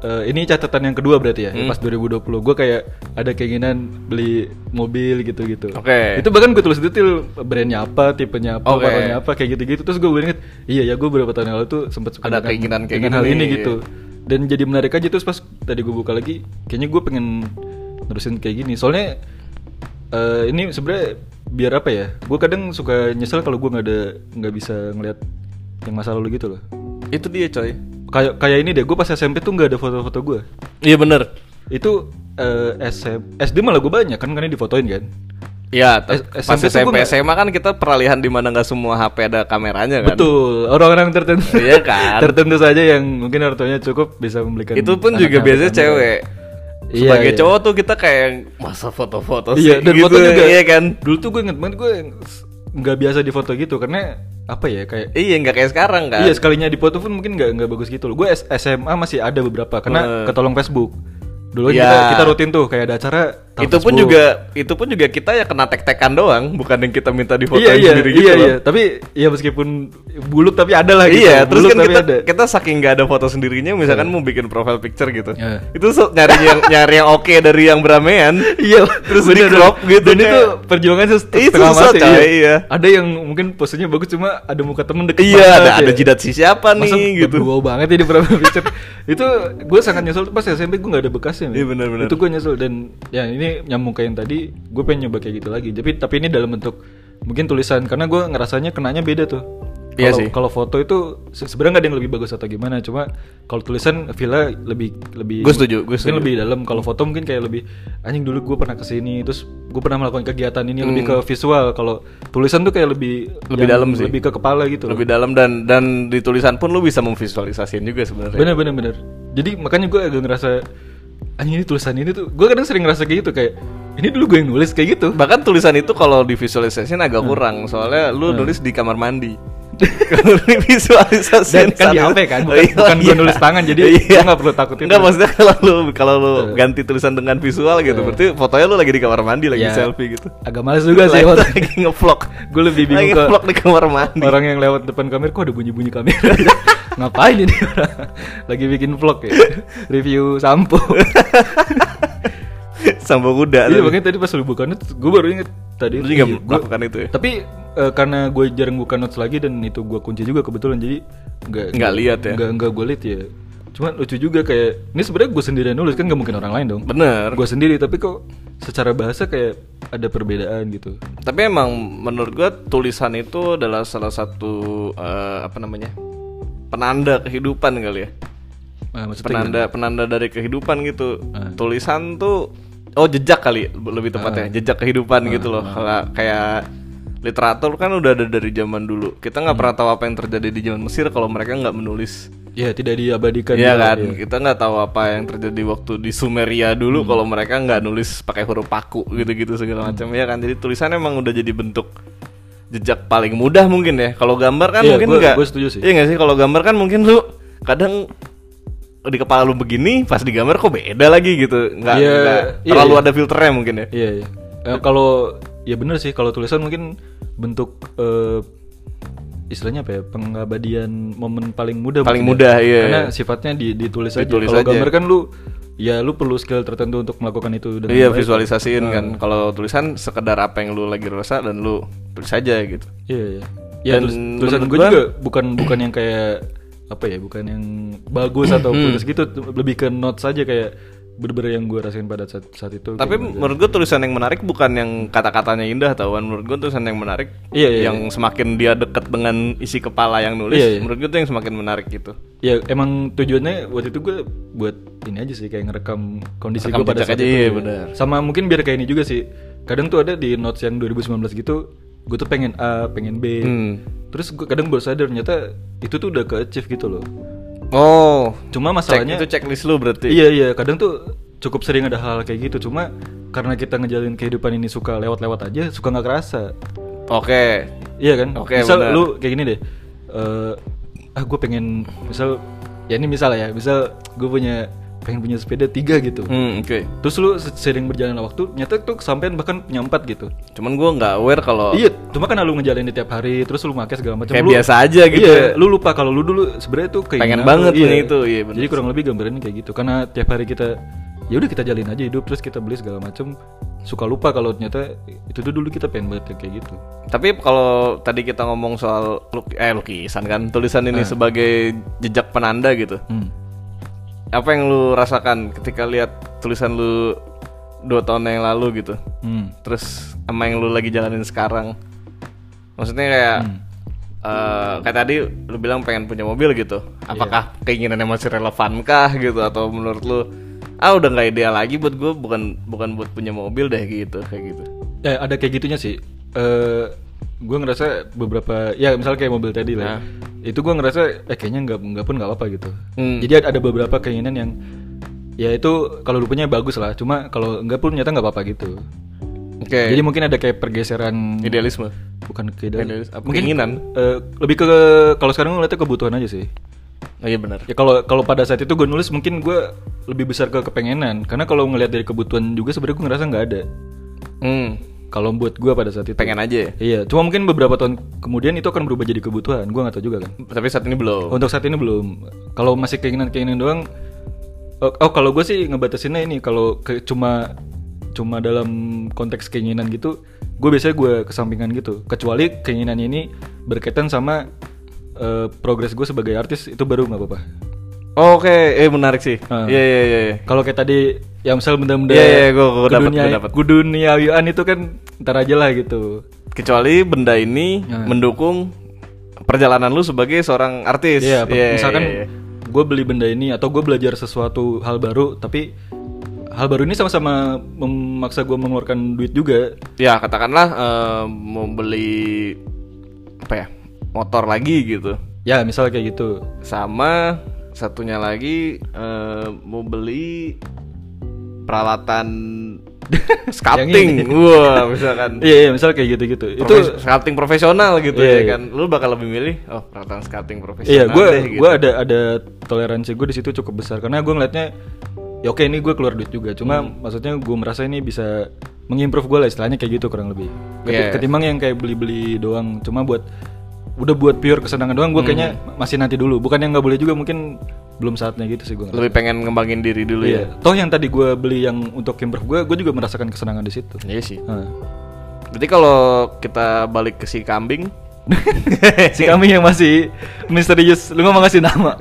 eh, ini catatan yang kedua berarti ya
Hmm.
pas 2020 gue kayak ada keinginan beli mobil gitu-gitu.
Oke.
Itu bahkan gue tulis detail brandnya apa, tipenya apa,
Oke.
warnanya apa kayak gitu-gitu. Terus gue inget iya ya gue beberapa tahun yang lalu tuh sempat suka
Ada
dengan-
keinginan kayak
dengan
gini
hal ini
nih.
gitu. Dan jadi menarik aja terus pas tadi gue buka lagi, kayaknya gue pengen nerusin kayak gini soalnya eh, ini sebenarnya biar apa ya gue kadang suka nyesel kalau gue nggak ada nggak bisa ngelihat yang masa lalu gitu loh
Itu dia coy.
kayak kayak ini deh gue pas SMP tuh nggak ada foto-foto gue
Iya bener.
itu eh, SM, SD malah gue banyak kan karena difotoin kan
Ya, t-
S-
pas
SMP eh, tuh
SMP
gua nggak-
SMA kan kita peralihan di mana nggak semua HP ada kameranya kan.
betul orang-orang tertentu
Iya kan?
tertentu saja yang mungkin hartanya cukup bisa membelikan
Itu pun
anak-anak gitu.
juga biasanya
kamera.
cewek.
Iya,
Sebagai
iya.
cowok tuh kita kayak masa foto-foto sih
Iya, dan
gitu,
foto juga.
Iya kan?
Dulu tuh gue inget banget gue nggak biasa di foto gitu karena apa ya kayak
Iya, nggak kayak sekarang kan.
iya sekalinya di foto pun mungkin nggak nggak bagus gitu loh. Gue S- SMA masih ada beberapa karena
Eh.
ketolong Facebook. Dulu
Iya.
kita, kita rutin tuh kayak ada acara. taruh
itu pun
Facebook.
juga itu pun juga kita ya kena tek-tekan doang, bukan yang kita minta di foto
iya iya
sendiri
iya,
gitu. loh.
iya. tapi ya meskipun buluk tapi ada lah gitu.
Iya, terus
Buluk
kan
tapi
kita
ada.
kita saking nggak ada foto sendirinya, misalkan mau bikin profile picture gitu,
Iya.
itu so- nyari yang nyari yang oke dari yang beramean,
Iya,
terus di
bener.
crop gitu.
Dan itu
kayak-
perjuangan sus-
Ih,
setengah
susah,
mati,
coy, iya.
Ada yang mungkin posenya bagus cuma ada muka temen deket
iya
banget,
ada
ya.
ada jidat si siapa nih
Masa
gitu.
berdua banget ya di Pramuka Picture Itu gue sangat nyesel tuh pas SMP gue gak ada bekasnya men.
Iya, benar-benar.
Itu gue nyesel dan ya ini nyambung kayak yang tadi Gue pengen nyoba kayak gitu lagi Tapi tapi ini dalam bentuk mungkin tulisan Karena gue ngerasanya kenanya beda tuh
Iya
Kalau-
sih.
Kalau foto itu se- sebenarnya gak ada yang lebih bagus atau gimana Cuma kalau tulisan villa lebih lebih
Gua setuju, gua
mungkin
setuju.
lebih dalam kalau foto mungkin kayak lebih anjing dulu gue pernah kesini terus gue pernah melakukan kegiatan ini lebih ke visual kalau tulisan tuh kayak lebih
Hmm. Lebih
yang
dalam sih.
lebih ke kepala gitu loh.
Lebih dalam dan dan di tulisan pun lu bisa memvisualisasiin juga sebenarnya.
Bener bener bener. Jadi makanya gue agak ngerasa anjing ini tulisan ini tuh gue kadang sering ngerasa kayak gitu kayak ini dulu gue yang nulis kayak gitu.
Bahkan tulisan itu kalau divisualisasiin
Hmm.
agak kurang soalnya lu nulis di kamar mandi. Kalau
Dan
divisualisasiin
kan di
satu-
HP kan, bukan- bukan gua nulis tangan, jadi gua nggak perlu takut itu.
iya. Nggak, maksudnya kalau lu kalau lu ganti tulisan dengan visual gitu, berarti fotonya lu lagi di kamar mandi lagi
Ya.
selfie gitu.
Agak males juga sih.
lagi,
waktu-
lagi ngevlog.
gue lebih
Lagi
bingung ke
ngevlog di kamar mandi.
orang yang lewat depan kamera kok ada bunyi bunyi kamera. Ngapain ini orang? Lagi bikin vlog ya. Review sampo.
Sambo kuda.
Iya
tuh.
makanya tadi pas lu buka notes gue baru inget tadi.
Lu juga
iya, gua-
melakukan itu ya?
Tapi eh, karena gue jarang buka notes lagi dan itu gue kunci juga kebetulan jadi nggak
Nggak lihat ya?
Nggak nggak gue lihat ya. Cuman lucu juga kayak ini sebenarnya gue sendiri yang nulis kan nggak mungkin orang lain dong.
Bener.
Gue sendiri tapi kok secara bahasa kayak ada perbedaan gitu.
Tapi emang menurut gua tulisan itu adalah salah satu eh, apa namanya penanda kehidupan kali ya.
Nah, maksudnya
Penanda penanda dari kehidupan gitu.
Ah.
Tulisan tuh oh jejak kali lebih tepatnya jejak kehidupan gitu loh. Kala- Kayak literatur kan udah ada dari zaman dulu. Kita nggak pernah tahu apa yang terjadi di zaman Mesir kalau mereka nggak menulis.
ya tidak diabadikan.
Iya
gitu.
kan, kita nggak tahu apa yang terjadi waktu di Sumeria
Hmm.
dulu kalau mereka nggak nulis pakai huruf paku gitu-gitu segala macam ya kan. Jadi tulisannya emang udah jadi bentuk jejak paling mudah mungkin ya. Kalau gambar kan
Iya,
mungkin
gua-
nggak.
gua setuju sih.
Iya nggak sih, kalau gambar kan mungkin lu kadang di kepala lu begini, pas digambar kok beda lagi gitu. Nggak
Iya,
nggak
iya,
terlalu
iya.
ada filternya mungkin ya.
Iya, iya. Eh, kalau ya bener sih kalau tulisan mungkin bentuk eh, istilahnya apa ya pengabadian momen paling mudah
Paling
mungkin
mudah,
ya.
iya,
karena
iya.
sifatnya di- ditulis,
Ditulis
aja kalau
aja.
gambar kan lu ya lu perlu skill tertentu untuk melakukan itu dengan
Iya,
baik. Hmm.
visualisasiin kan. Kalau tulisan sekedar apa yang lu lagi rasa dan lu tulis aja gitu.
iya iya ya
Dan
tulis- tulisan
menurut
gue
gua-
juga bukan bukan yang kayak apa ya bukan yang bagus
Hmm.
atau bagus gitu lebih ke notes aja kayak bener-bener yang gue rasain pada saat, saat itu
Tapi
Kayak-
menurut gue tulisan yang menarik bukan yang kata-katanya indah tahuan menurut gue tulisan yang menarik
Iya, iya,
yang semakin dia deket dengan isi kepala yang nulis
Iya, iya.
menurut gue tuh yang semakin menarik gitu.
Ya emang tujuannya waktu itu gue buat ini aja sih kayak ngerekam kondisi
Rekam
gue pada
jejak
saat
aja,
itu.
iya,
ya.
benar.
Sama mungkin biar kayak ini juga sih. Kadang tuh ada di notes yang 2019 gitu, gue tuh pengen A, pengen B.
Hmm.
Terus gue kadang baru sadar ternyata itu tuh udah ke achieve gitu loh.
Oh,
Cuma
cek
masalahnya
itu checklist lu berarti.
Iya iya, kadang tuh cukup sering ada hal kayak gitu. Cuma karena kita ngejalin kehidupan ini suka lewat-lewat aja, suka nggak kerasa.
Oke.
Iya kan?
Oke,
misal
benar.
lu kayak gini deh. eh ah gue pengen misal ya ini misal ya, misal gue punya pengen punya sepeda tiga gitu.
Hmm, oke.
Terus lu se- sering berjalan waktu, nyata tuh kesampaian bahkan punya empat gitu.
Cuman gue nggak aware kalau
Iya, cuma kan lu ngejalanin tiap hari, terus lu pakai segala macam.
Oh. Kayak
Lu-
biasa aja gitu
Iya,
ya.
lu lupa kalau lu dulu sebenarnya tuh kayak
Pengen banget punya itu, iya benar.
Jadi kurang lebih gambarannya kayak gitu. Karena tiap hari kita ya udah kita jalin aja hidup, terus kita beli segala macam. Suka lupa kalau ternyata itu tuh dulu kita pengen banget kayak gitu.
Tapi kalau tadi kita ngomong soal luk- eh lukisan kan tulisan
Ah.
ini sebagai jejak penanda gitu.
Hmm.
Apa yang lu rasakan ketika lihat tulisan lu dua tahun yang lalu gitu
Hmm.
terus sama yang lu lagi jalanin sekarang maksudnya kayak
Hmm.
eh, kayak tadi lu bilang pengen punya mobil gitu
Iya.
apakah keinginannya masih relevan kah gitu atau menurut lu ah udah nggak ideal lagi buat gue bukan bukan buat punya mobil deh gitu kayak gitu
Eh, ada kayak gitunya sih. Eh, gue ngerasa beberapa, ya misalnya kayak mobil tadi
Nah.
lah, itu gue ngerasa eh kayaknya nggak nggak pun nggak apa-apa gitu.
Hmm.
Jadi ada ada beberapa keinginan yang ya itu kalau lu punya bagus lah, cuma kalau nggak pun nyata nggak apa-apa gitu.
oke
Jadi mungkin ada kayak pergeseran
idealisme
bukan ke ideal-
Idealis- apa,
mungkin,
keinginan
eh, lebih ke kalau sekarang ngeliatnya kebutuhan aja sih.
oh iya benar
Ya kalau kalau pada saat itu gue nulis mungkin gue lebih besar ke kepengenan, karena kalau ngelihat dari kebutuhan juga sebenarnya gue ngerasa nggak ada.
hmm,
Kalau buat gue pada saat itu.
pengen aja ya?
Iya, cuma mungkin beberapa tahun kemudian itu akan berubah jadi kebutuhan. Gua nggak tahu juga kan.
tapi saat ini belum
Gitu. Untuk saat ini belum. Kalau masih keinginan-keinginan doang, oh, oh, kalau gue sih ngebatasinnya ini kalau ke- cuma cuma dalam konteks keinginan gitu, gue biasanya gue kesampingan gitu. Kecuali keinginan ini berkaitan sama eh, progres gue sebagai artis itu baru nggak apa-apa.
Oh, oke eh menarik sih
Ah.
iya iya iya iya.
Kalau kayak tadi yang misal benda-benda
Iya, iya, gua- gua dapet,
kedunia,
gua dapet.
keduniawian itu kan ntar aja lah gitu.
kecuali benda ini
Ya.
mendukung perjalanan lu sebagai seorang artis
Iya, per-
Iya,
misalkan
iya, iya.
gue beli benda ini atau gue belajar sesuatu hal baru, tapi hal baru ini sama-sama memaksa gue mengeluarkan duit juga.
ya katakanlah eh, mau beli apa ya motor lagi gitu
Ya, misal kayak gitu.
sama satunya lagi eh, mau beli peralatan
Yang
sculpting wah misalkan
Iya, iya, misal kayak gitu-gitu. Itu,
Profes- sculpting profesional gitu
Iya, iya.
ya kan lu bakal lebih milih oh peralatan sculpting profesional
iya, gue
deh, gitu.
gue ada ada toleransi gue di situ cukup besar karena gue ngelihatnya, ya oke ini gue keluar duit juga. Cuma
Hmm.
maksudnya gue merasa ini bisa mengimprove gue lah istilahnya kayak gitu kurang lebih. Keti-
Iya.
Ketimbang yang kayak beli-beli doang, cuma buat udah buat pure kesenangan doang, gue
Hmm.
kayaknya masih nanti dulu. Bukan yang nggak boleh juga mungkin belum saatnya gitu sih gue.
lebih pengen ngembangin diri dulu ya.
Iya. Toh yang tadi gue beli yang untuk improve gue, gue juga merasakan kesenangan di situ.
ya iya sih
Nah.
berarti kalau kita balik ke si kambing
si kami yang masih misterius, lu nggak mau ngasih nama.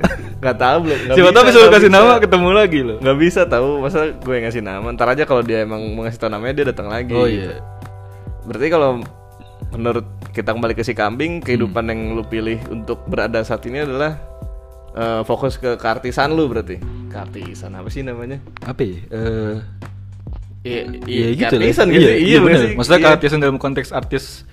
nggak tahu belum nggak
Siapa
bisa,
tahu besok
nggak
kasih
bisa.
nama ketemu lagi lo.
nggak bisa tahu masa gue yang ngasih nama ntar aja kalau dia emang mau ngasih tau namanya dia datang lagi
Oh iya.
berarti kalau menurut kita kembali ke si kambing
Hmm.
kehidupan yang lu pilih untuk berada saat ini adalah eh, fokus ke keartisan lu berarti keartisan apa sih namanya
Apa ya? Eh,
iya
Iya gitu lah.
keartisan gitu
Iya, iya
bukan
benar.
sih?
Maksudnya
Iya.
keartisan dalam konteks artis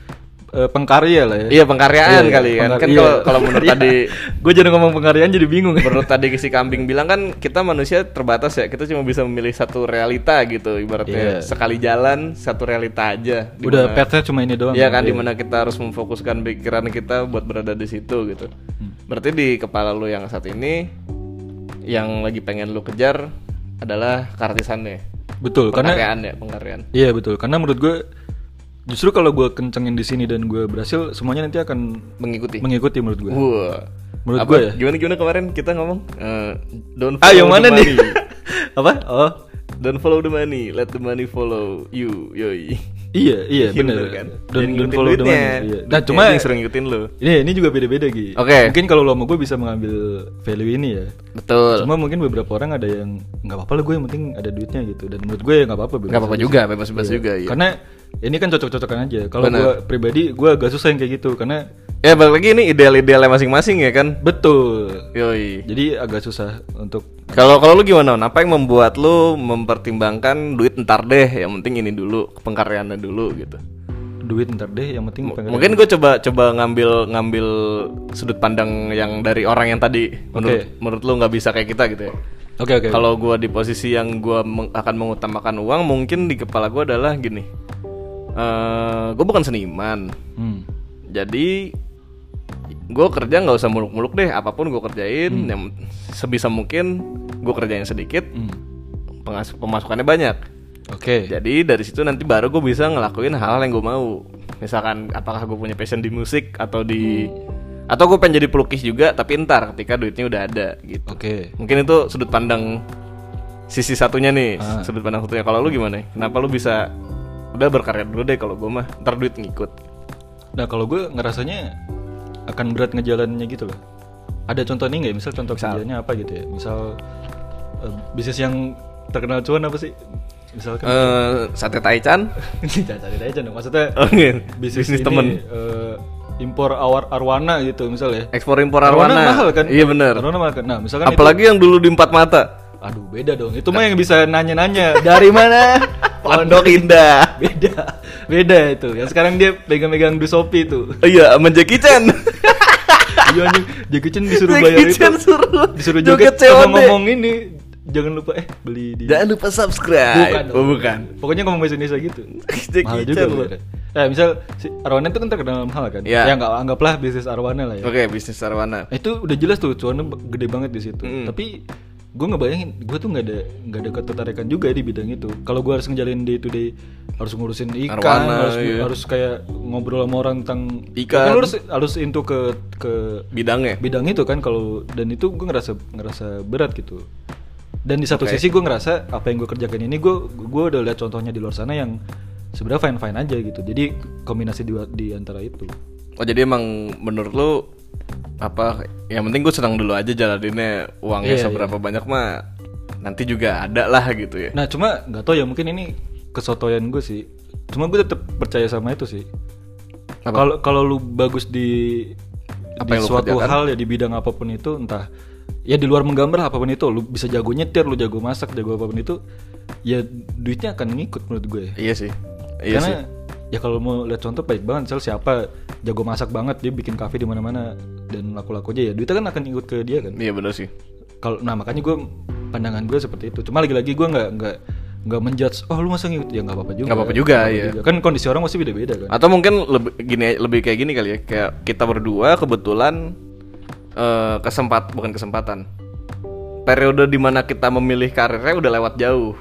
eh, pengkarya lah ya.
Iya, pengkaryaan kali kan. Kan kalau-
iya.
kalau menurut tadi
gue jadi ngomong pengkaryaan jadi bingung.
menurut tadi si kambing bilang kan kita manusia terbatas ya kita cuma bisa memilih satu realita gitu ibaratnya
Iya.
sekali jalan satu realita aja Di
Udah
mana-
petnya cuma ini doang.
Iya kan dimana kita harus memfokuskan pikiran kita buat berada di situ gitu
Hmm.
berarti di kepala lu yang saat ini yang lagi pengen lu kejar adalah keartisannya
Betul, karena
pengkaryaan ya pengkaryaan
Iya betul, karena menurut gue justru kalau gue kencengin di sini dan gue berhasil, semuanya nanti akan
mengikuti
mengikuti menurut gue.
Wah.
Menurut
Apa-
gue ya.
gimana gimana kemarin kita ngomong Eh, don't
Ah, yang
follow the
mana nih?
money.
Apa? Oh,
Don't follow the money, let the money follow you, yoi.
iya iya
Iya,
benar.
bener kan?
Don't,
Jangan
don't
ngikutin
follow the
duitnya.
money. Iya. Nah
Duitnya
cuma
yang sering ngikutin lu.
ini ini juga beda-beda gitu.
Oke.
Mungkin kalau lo mau gue bisa mengambil value ini ya.
Betul.
Cuma mungkin beberapa orang ada yang nggak apa-apa lah gue yang penting ada duitnya gitu. Dan menurut gue ya nggak apa-apa.
Gak apa-apa juga, bebas-bebas juga ya.
Karena ini kan cocok-cocokan aja. Kalau
Benar.
gue pribadi gue agak susah yang kayak gitu karena
Ya balik lagi ini ideal-idealnya masing-masing ya kan.
betul.
Yoi.
Jadi agak susah untuk
Kalau kalau lu gimana? Non? Apa yang membuat lu mempertimbangkan duit ntar deh, yang penting ini dulu, pengkaryaannya dulu gitu.
duit ntar deh yang penting pengen
Mungkin gue coba coba ngambil ngambil sudut pandang yang dari orang yang tadi menurut menurut lu nggak bisa kayak kita gitu ya.
oke oke
Kalau gua di posisi yang gua meng- akan mengutamakan uang, mungkin di kepala gua adalah gini. Eh, gue bukan seniman,
Hmm.
jadi gue kerja nggak usah muluk-muluk deh. Apapun gue kerjain, yang sebisa mungkin gue kerjain sedikit,
Hmm.
pengas- pemasukannya banyak.
oke
Jadi dari situ nanti baru gue bisa ngelakuin hal-hal yang gue mau. Misalkan apakah gue punya passion di musik atau di atau gue pengen jadi pelukis juga, tapi ntar ketika duitnya udah ada gitu
oke
mungkin itu sudut pandang sisi satunya nih
Ah.
sudut pandang satunya kalau lu gimana kenapa lu bisa udah berkarya dulu deh kalau gue mah ntar duit ngikut
nah kalau gue ngerasanya akan berat ngejalannya gitu loh ada contoh ini nggak ya? misal contoh kerjanya apa gitu ya misal eh, bisnis yang terkenal cuan apa sih Misalkan
Eh, sate taichan
Jangan cari aja dong. Maksudnya
oh, gitu.
bisnis,
bisnis
ini,
temen
eh, impor awar arwana gitu misalnya.
ekspor impor arwana
mahal kan?
iya bener
Arwana mahal kan. Nah, misalkan itu-
apalagi Nah. yang dulu di empat mata
aduh beda dong. Itu mah yang bisa nanya-nanya dari mana?
pondok
iya.
indah
beda. Beda itu. Yang sekarang dia pegang-pegang Dusopi itu.
iya sama Jackie Chan
Iya anjing, Jackie Chan disuruh
Jackie
bayar itu.
Chan suruh
disuruh
joget
joget
COD.
sama ngomong ini. Jangan lupa eh beli di
jangan lupa subscribe
dong.
oh, bukan
Pokoknya ngomong bahasa Indonesia gitu.
Jackie
Mahal juga
Chan,
loh.
loh.
Eh, misal si Arwana itu kan terkenal mahal kan?
Iya.
Ya enggak anggaplah bisnis Arwana lah ya.
oke bisnis arwana
Nah, Itu udah jelas tuh cuannya b- gede banget di situ.
Mm.
Tapi gue ngebayangin gue tuh nggak ada nggak ada ketertarikan juga di bidang itu. Kalau gue harus ngejalin day to day harus ngurusin ikan,
Arwana,
harus
iya.
harus kayak ngobrol sama orang tentang
Ikan.
Kan lu harus harus into ke ke
bidangnya
bidang itu kan kalau dan itu gue ngerasa ngerasa berat gitu. Dan di satu
Oke.
sisi gue ngerasa apa yang gue kerjakan ini gue gue udah lihat contohnya di luar sana yang sebenarnya fine fine aja gitu. Jadi kombinasi di, di antara itu.
Oh jadi emang menurut lu apa yang penting gue senang dulu aja jalaninnya uangnya
Iya,
seberapa banyak mah nanti juga ada lah gitu ya.
Nah cuma nggak tahu ya mungkin ini kesotoyan gue sih. Cuma gue tetap percaya sama itu sih.
Apa?
Kalau kalau lu bagus di
Apa
di
yang lu
suatu
kerjakan?
hal ya di bidang apapun itu entah ya di luar menggambar apapun itu lu bisa jago nyetir, lu jago masak, jago apapun itu ya duitnya akan ngikut menurut ya. gue.
Iya sih. Iya
Karena
sih.
ya kalau mau lihat contoh baik banget misal siapa jago masak banget dia bikin kafe di mana-mana dan laku-laku aja ya duitnya kan akan ikut ke dia kan
Iya benar sih.
kalau nah makanya gue pandangan gue seperti itu cuma lagi-lagi gue nggak nggak nggak menjudge oh lu masa ngikut ya nggak apa-apa juga
Nggak apa-apa juga,
Nggak
iya.
kan kondisi orang pasti beda-beda kan
Atau mungkin lebih gini lebih kayak gini kali ya. Kayak kita berdua kebetulan eh kesempat bukan kesempatan. Periode dimana kita memilih karirnya udah lewat jauh.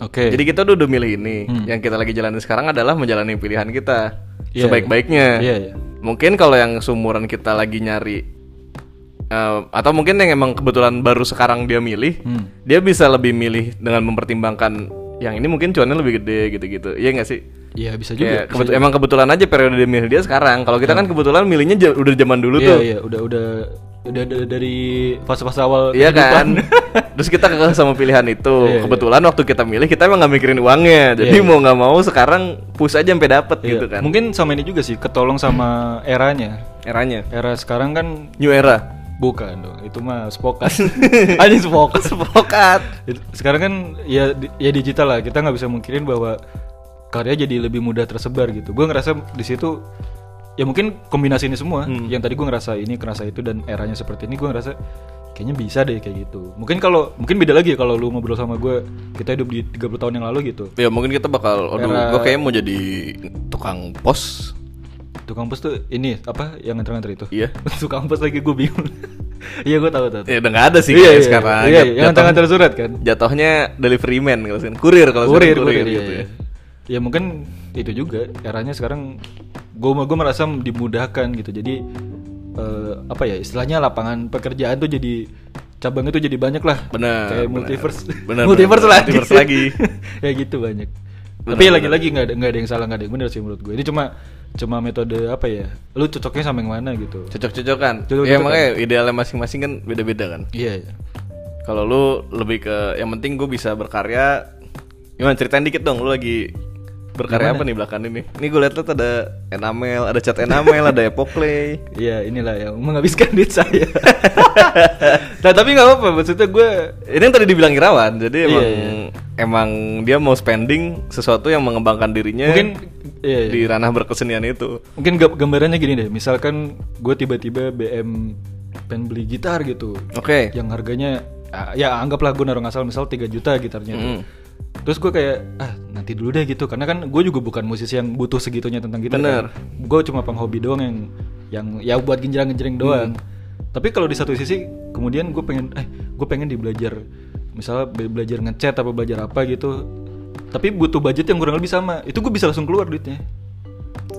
oke Hmm.
Jadi kita udah, udah milih ini. Yang kita lagi jalani sekarang adalah menjalani pilihan kita
Iya,
sebaik-baiknya.
iya iya
Mungkin kalau yang seumuran kita lagi nyari eh, atau mungkin yang emang kebetulan baru sekarang dia milih,
Hmm.
dia bisa lebih milih dengan mempertimbangkan yang ini mungkin cuannya lebih gede gitu-gitu. Iya nggak sih?
iya bisa
Kayak
juga
kebetu- emang kebetulan aja periode dia milih dia sekarang. Kalau kita kan kebetulan milihnya ja- udah zaman dulu
iya
tuh.
iya udah udah udah da- dari fase-fase awal gitu
Iya
kehidupan.
kan? Terus kita kekeh sama pilihan itu.
Iya, iya.
kebetulan waktu kita milih kita emang nggak mikirin uangnya. Jadi mau nggak mau sekarang push aja sampai dapet
Iya.
gitu kan.
mungkin sama ini juga sih ketolong sama eranya
Eranya.
era sekarang kan
New era.
bukan dong itu mah spokas anjing spokas
Sepokat.
It- sekarang kan ya di- ya digital lah kita nggak bisa mungkinin bahwa karya jadi lebih mudah tersebar gitu gue ngerasa di situ ya mungkin kombinasi ini semua
Hmm.
yang tadi gue ngerasa ini ngerasa itu dan eranya seperti ini gue ngerasa kayaknya bisa deh kayak gitu mungkin kalau mungkin beda lagi ya kalau lu ngobrol sama gue kita hidup di 30 tahun yang lalu gitu
Ya mungkin kita bakal aduh
Era-
gue kayaknya mau jadi tukang pos.
tukang pos tuh ini apa yang nganter-nganter itu
Iya.
tukang pos lagi gue bingung iya gue tahu tahu
Ya udah nggak ada sih
iya,
kayaknya
iya,
sekarang.
iya,
Jat-
iya, yang
jatuh-
nganter-nganter surat kan
jatuhnya delivery man kalau sekarang kurir kalau
kurir,
sekarang
kurir, iya,
gitu ya.
iya. ya mungkin itu juga eranya sekarang gue gue merasa dimudahkan gitu jadi eh, apa ya istilahnya lapangan pekerjaan tuh jadi cabang itu jadi banyak lah
Benar.
kayak
benar.
multiverse
Benar,
multiverse
benar,
lagi
multiverse lagi.
ya gitu banyak
Benar,
tapi ya
benar.
lagi-lagi nggak ada nggak ada yang salah nggak ada yang benar sih menurut gue ini cuma cuma metode apa ya lu cocoknya sama yang mana gitu
Cocok-cocokan.
Cocok-cocokan.
Ya makanya idealnya masing-masing kan beda-beda kan.
iya iya.
Kalau lu lebih ke yang penting gue bisa berkarya. Gimana ceritain dikit dong lu lagi berkarya apa nih belakangan ini? Ini gue liat-liat ada enamel, ada cat enamel, ada epoklay.
Iya inilah yang menghabiskan duit saya. nah tapi nggak apa-apa maksudnya gue
Ini yang tadi dibilang Irawan, jadi
Iya,
emang
iya.
emang dia mau spending sesuatu yang mengembangkan dirinya
mungkin iya, iya.
di ranah berkesenian itu.
mungkin gam- gambarannya gini deh misalkan gue tiba-tiba BM pengen beli gitar gitu
Oke.
yang harganya ah, ya anggaplah gue naruh asal misal 3 juta gitarnya tuh.
Mm-mm.
terus gue kayak ah nanti dulu deh gitu karena kan gue juga bukan musisi yang butuh segitunya tentang gitar
Bener.
gue cuma penghobi doang yang yang ya buat genjreng-genjreng doang
Hmm.
tapi kalau di satu sisi kemudian gue pengen eh gue pengen di belajar misalnya be- belajar ngecat apa belajar apa gitu tapi butuh budget yang kurang lebih sama itu gue bisa langsung keluar duitnya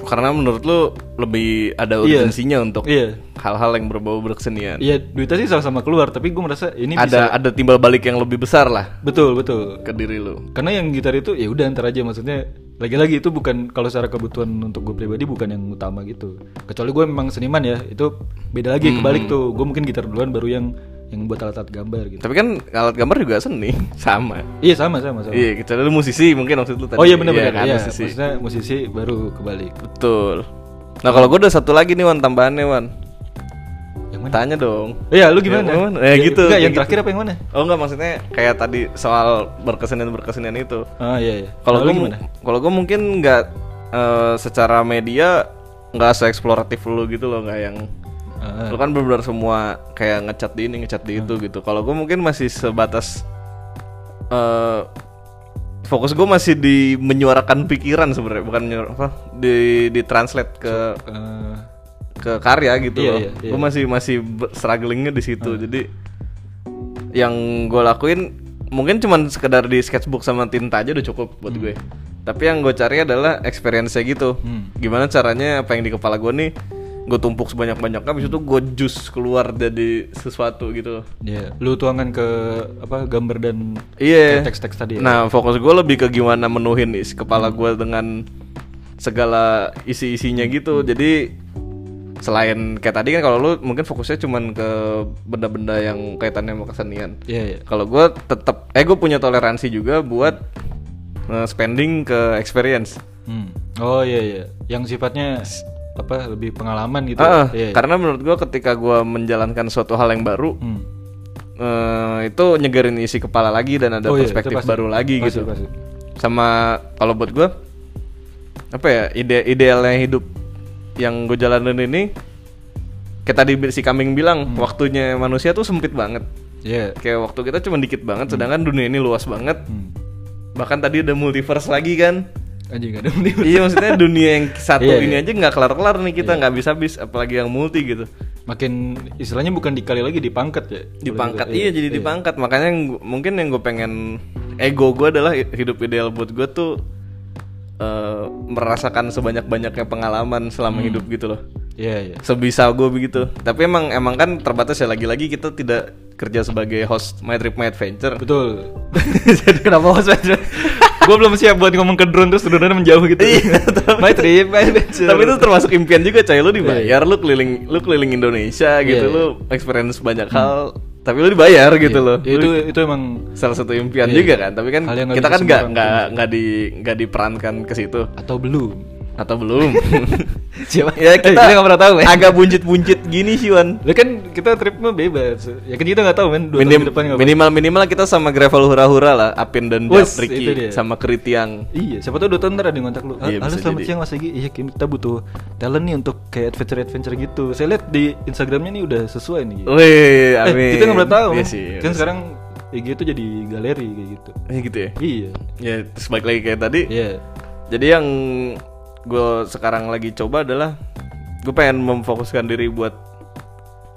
Karena menurut lu lebih ada
Iya.
urgensinya untuk
Iya.
hal-hal yang berbau berkesenian.
Iya, duitnya sih sama-sama keluar, tapi gue merasa ini bisa.
Kan? ada ada timbal balik yang lebih besar lah
Betul, betul.
ke diri lu.
Karena yang gitar itu ya udah ntar aja maksudnya. Lagi-lagi itu bukan kalau secara kebutuhan untuk gue pribadi bukan yang
Hmm.
utama gitu. Kecuali gue memang seniman ya, itu beda lagi kebalik tuh. Gue mungkin gitar duluan baru yang yang buat alat-alat gambar gitu.
Tapi kan alat gambar juga seni, sama.
Iya sama sama sama.
Iya, kecuali lu musisi mungkin maksud lu tadi.
oh iya benar-benar
kan,
iya,
musisi.
Maksudnya musisi baru kebalik.
Betul. Nah, kalau gue ada satu lagi nih Wan tambahannya Wan.
Yang mana?
Tanya dong.
Iya, lu gimana?
Ya, mana? Ya, gitu, ya
Enggak, yang
gitu.
terakhir apa yang mana?
Oh enggak maksudnya kayak tadi soal berkesenian berkesenian itu.
Ah iya iya.
Kalau
lu
gue
gimana?
kalau gue mungkin nggak eh, secara media nggak seeksploratif lu gitu loh nggak yang
Ah,
lu kan benar semua kayak ngecat di ini ngecat di itu gitu. Kalau gue mungkin masih sebatas eh fokus gue masih di menyuarakan pikiran sebenarnya bukan menyuar- apa di di translate ke
ah.
ke karya gitu
Iya,
loh.
iya, Ah. iya.
Gue masih masih ber- strugglingnya di situ. Jadi yang gue lakuin mungkin cuman sekedar di sketchbook sama tinta aja udah cukup buat gue. Tapi yang gue cari adalah experience-nya gitu.
Hmm.
Gimana caranya apa yang di kepala gue nih gue tumpuk sebanyak-banyaknya habis itu gue jus keluar jadi sesuatu gitu.
Iya, lu tuangkan ke apa gambar dan
Iya.
kayak teks-teks tadi. ya?
Nah, fokus gue lebih ke gimana menuhin isi kepala gue dengan segala isi-isinya gitu. Jadi selain kayak tadi kan kalau lu mungkin fokusnya cuman ke benda-benda yang kaitannya sama kesenian.
Iya iya.
Kalau gue tetap, eh gue punya toleransi juga buat eh, spending ke experience.
Hmm. Oh iya iya. Yang sifatnya apa lebih pengalaman gitu.
Ah,
ya? Iya. iya.
Karena menurut gue ketika gue menjalankan suatu hal yang baru,
Hmm.
eh, itu nyegerin isi kepala lagi dan ada
Oh, iya, itu
perspektif
pasti.
baru lagi
Pasti,
gitu.
pasti.
sama kalau buat gue apa ya ide idealnya hidup yang gue jalanin ini kayak tadi si kambing bilang
Hmm.
waktunya manusia tuh sempit banget
Iya.
kayak waktu kita cuma dikit banget sedangkan dunia ini luas banget
Hmm.
bahkan tadi ada multiverse lagi kan
Anjing gak ada yang tiba.
iya maksudnya dunia yang satu
Iya,
ini
iya.
aja nggak kelar kelar nih kita nggak bisa habis apalagi yang multi gitu
Makin istilahnya bukan dikali lagi dipangkat ya.
dipangkat iya, jadi dipangkat makanya yang gu- mungkin yang gue pengen ego gue adalah i- hidup ideal buat gue tuh eh, merasakan sebanyak banyaknya pengalaman selama hidup gitu loh
Iya iya.
sebisa gue begitu tapi emang emang kan terbatas ya lagi-lagi kita tidak kerja sebagai host my trip my adventure
Betul. Jadi kenapa host Gue belum siap buat ngomong ke drone terus drone menjauh gitu. my trip, my
Iya,
adventure.
tapi itu termasuk impian juga coy lu dibayar lu keliling lu keliling Indonesia gitu
Iya, iya.
lu experience banyak hal tapi lu dibayar gitu loh
Ya, itu itu emang
salah satu impian
Iya.
juga kan tapi kan
Hal yang nggak
kita
bisa
kan nggak
sembarang
nggak nggak di nggak diperankan ke situ
atau belum.
atau belum
Siapa?
ya
Eh,
kita
kita nggak pernah tahu, men.
agak buncit buncit gini sih Wan
Lah kan kita trip mah bebas. Ya kan kita nggak tahu men dua
Minim-
tahun ke depan nggak
minimal minimal kita sama gravel hura hura lah Apin dan
Wes,
Jap, Ricky,
itu dia.
sama Keritiang
Iya, siapa tahu Doton ntar ada yang kontak lu.
Iya,
Iya, Halo,
bisa
selamat
jadi.
siang Mas Egi. Iya, kita butuh talent nih untuk kayak adventure-adventure gitu. Saya lihat di Instagramnya nih udah sesuai nih.
Wih,
Eh,
Oh, amin.
kita nggak pernah tahu.
Iya
men.
sih, iya
kan
sih.
sekarang Egi itu jadi galeri kayak gitu.
Eh, gitu ya.
Iya.
Ya, terus balik lagi kayak tadi.
Iya.
Jadi yang gue sekarang lagi coba adalah gue pengen memfokuskan diri buat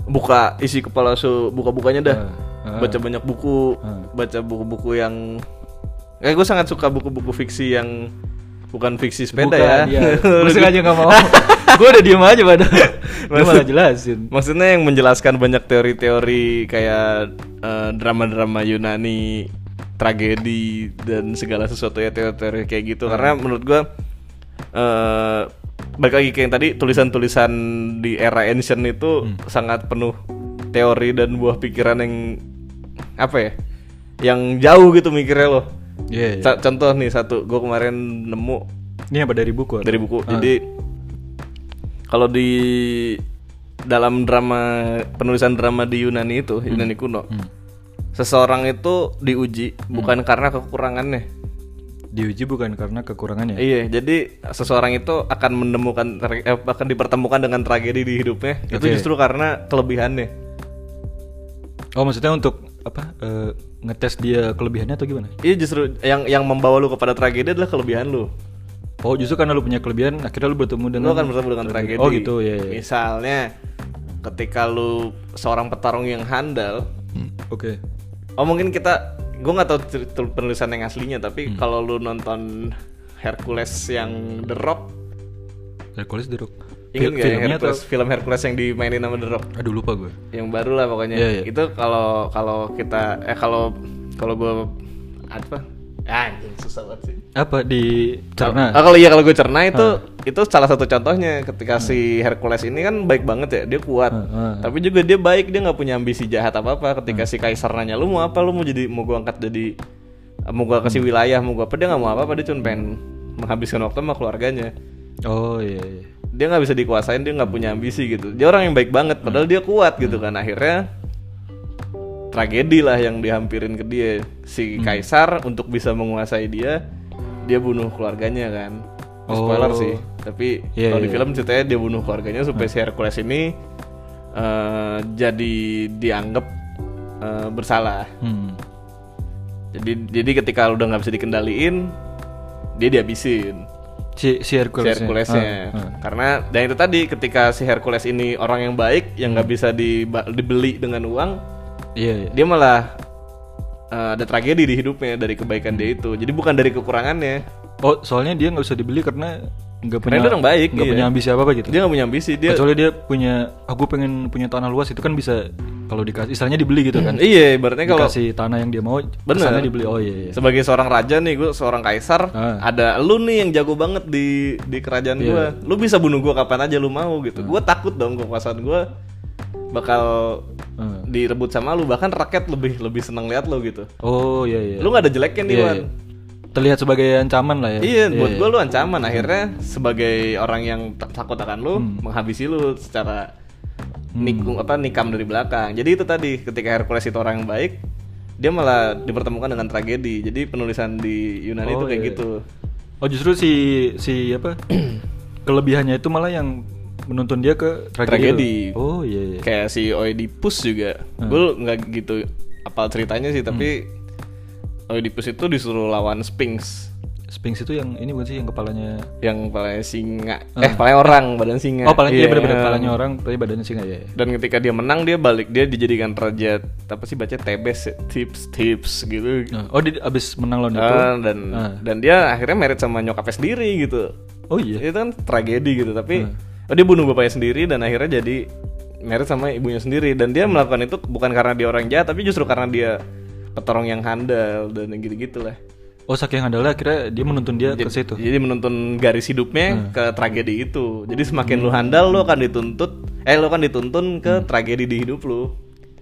buka isi kepala su buka bukanya dah
Ah, ah.
baca banyak buku
Ah.
baca buku-buku yang kayak gue sangat suka buku-buku fiksi yang bukan fiksi sepeda
Bukan,
ya
Iya. Gue sengaja nggak mau. Gue udah diem aja padahal. Gue malah jelasin.
maksudnya yang menjelaskan banyak teori-teori kayak eh, drama-drama Yunani tragedi dan segala sesuatu ya teori-teori kayak gitu
Hmm.
karena menurut gua eh balik lagi kayak yang tadi tulisan-tulisan di era ancient itu
Hmm.
sangat penuh teori dan buah pikiran yang apa ya yang jauh gitu mikirnya loh
Iya. iya.
Sa- contoh nih satu gua kemarin nemu
Ini apa dari buku? Ar?
dari buku.
Ah.
Jadi kalau di dalam drama penulisan drama di Yunani
Hmm.
itu Yunani kuno, seseorang itu diuji
Hmm.
bukan karena kekurangannya.
diuji bukan karena kekurangannya.
Iya, jadi seseorang itu akan menemukan tra- eh, akan dipertemukan dengan tragedi di hidupnya itu
Oke.
justru karena kelebihannya.
Oh, maksudnya untuk apa? eh, ngetes dia kelebihannya atau gimana?
Iya justru yang yang membawa lu kepada tragedi adalah kelebihan lu.
Oh justru karena lu punya kelebihan akhirnya lu bertemu
lu
dengan
akan bertemu dengan tragedi.
Oh gitu ya. ya.
Misalnya ketika lu seorang petarung yang handal,
Oke.
Oh mungkin kita gue nggak tahu cer- tul- penulisan yang aslinya
Hmm.
tapi kalau lu nonton Hercules yang The Rock
Hercules The Rock.
inget
Fil-
nggak yang
filmnya atau
Hercules film Hercules yang dimainin sama The Rock
aduh lupa gue.
yang baru lah pokoknya
Iya, iya.
itu kalau kalau kita eh kalau kalau gue apa Anjing susah banget sih.
Apa di
Cerna.
cerna?
kalau iya kalau gue cerna itu
Ah.
itu salah satu contohnya ketika si Hercules ini kan baik banget ya dia kuat.
Ah, ah.
Tapi juga dia baik dia nggak punya ambisi jahat apa apa. Ketika si Kaisar nanya lu mau apa lu mau jadi mau gue angkat jadi mau gue kasih
Hmm.
wilayah mau gue apa dia nggak mau apa apa dia cuma pengen menghabiskan waktu sama keluarganya.
Oh iya iya.
Dia nggak bisa dikuasain dia nggak punya ambisi gitu. Dia orang yang baik banget padahal dia kuat gitu kan akhirnya tragedi lah yang dihampirin ke dia si
Hmm.
kaisar untuk bisa menguasai dia dia bunuh keluarganya kan Ini spoiler
Oh.
sih tapi
Iya,
kalau di
iya. Hmm.
film ceritanya dia bunuh keluarganya supaya si Hercules ini eh, jadi dianggap eh, bersalah
Hmm.
jadi jadi ketika udah nggak bisa dikendaliin dia dihabisin
Si si Hercules.
si Herculesnya. Karena dan itu tadi ketika si Hercules ini orang yang baik yang nggak bisa diba- dibeli dengan uang,
Iya iya.
dia malah uh, ada tragedi di hidupnya dari kebaikan dia itu jadi bukan dari kekurangannya
Oh soalnya dia nggak usah dibeli karena nggak punya
Karena dia orang baik,
nggak
iya.
punya ambisi apa apa gitu.
dia nggak punya ambisi dia
Kecuali dia punya aku pengen punya tanah luas itu kan bisa kalau dikasih istilahnya dibeli gitu kan.
iya ibaratnya kalau
dikasih tanah yang dia mau kesannya dibeli oh iya iya
sebagai seorang raja nih gue seorang kaisar
Ah.
ada lu nih yang jago banget di di kerajaan gua lu bisa bunuh gua kapan aja lu mau gitu gua takut dong kekuasaan gua bakal
Hmm.
direbut sama lu bahkan rakyat lebih lebih senang lihat lu gitu
oh iya iya
lu nggak ada jeleknya nih
Iya,
Wan
iya. terlihat sebagai ancaman lah ya
Iya, buat gue lu ancaman akhirnya sebagai orang yang tak- takut akan lu
Hmm.
menghabisi lu secara nikung apa nikam dari belakang. Jadi itu tadi ketika Hercules itu orang yang baik, dia malah dipertemukan dengan tragedi. Jadi penulisan di Yunani itu
Oh,
kayak
iya.
gitu.
oh justru si si apa kelebihannya itu malah yang menuntun dia ke
Tragedi.
itu. oh iya iya
Kayak si Oedipus juga.
Hmm.
Gue nggak gitu apa ceritanya sih, tapi
Hmm.
Oedipus itu disuruh lawan Sphinx
Sphinx itu yang ini bukan sih yang kepalanya
yang palanya singa. Eh, palanya orang, badan singa.
Ah. oh palanya
Iya,
iya benar-benar
eh.
kepalanya orang tapi badannya singa ya iya.
dan ketika dia menang dia balik dia dijadikan raja apa sih baca tebes ya? tips tips gitu
Nah, oh dia abis menang lawan itu
Ah, dan
Ah.
dan dia akhirnya merit sama nyokapnya sendiri gitu
oh iya Ah.
itu kan tragedi gitu tapi oh, dia bunuh bapaknya sendiri dan akhirnya jadi merit sama ibunya sendiri dan dia melakukan itu bukan karena dia orang jahat tapi justru karena dia petorong yang handal dan gitu gitulah
oh saking handalnya akhirnya dia menuntun dia ke situ
jadi menuntun garis
Ah.
hidupnya ke tragedi itu jadi semakin lu handal lu akan dituntut eh lu akan dituntun
Hmm.
ke tragedi di hidup lu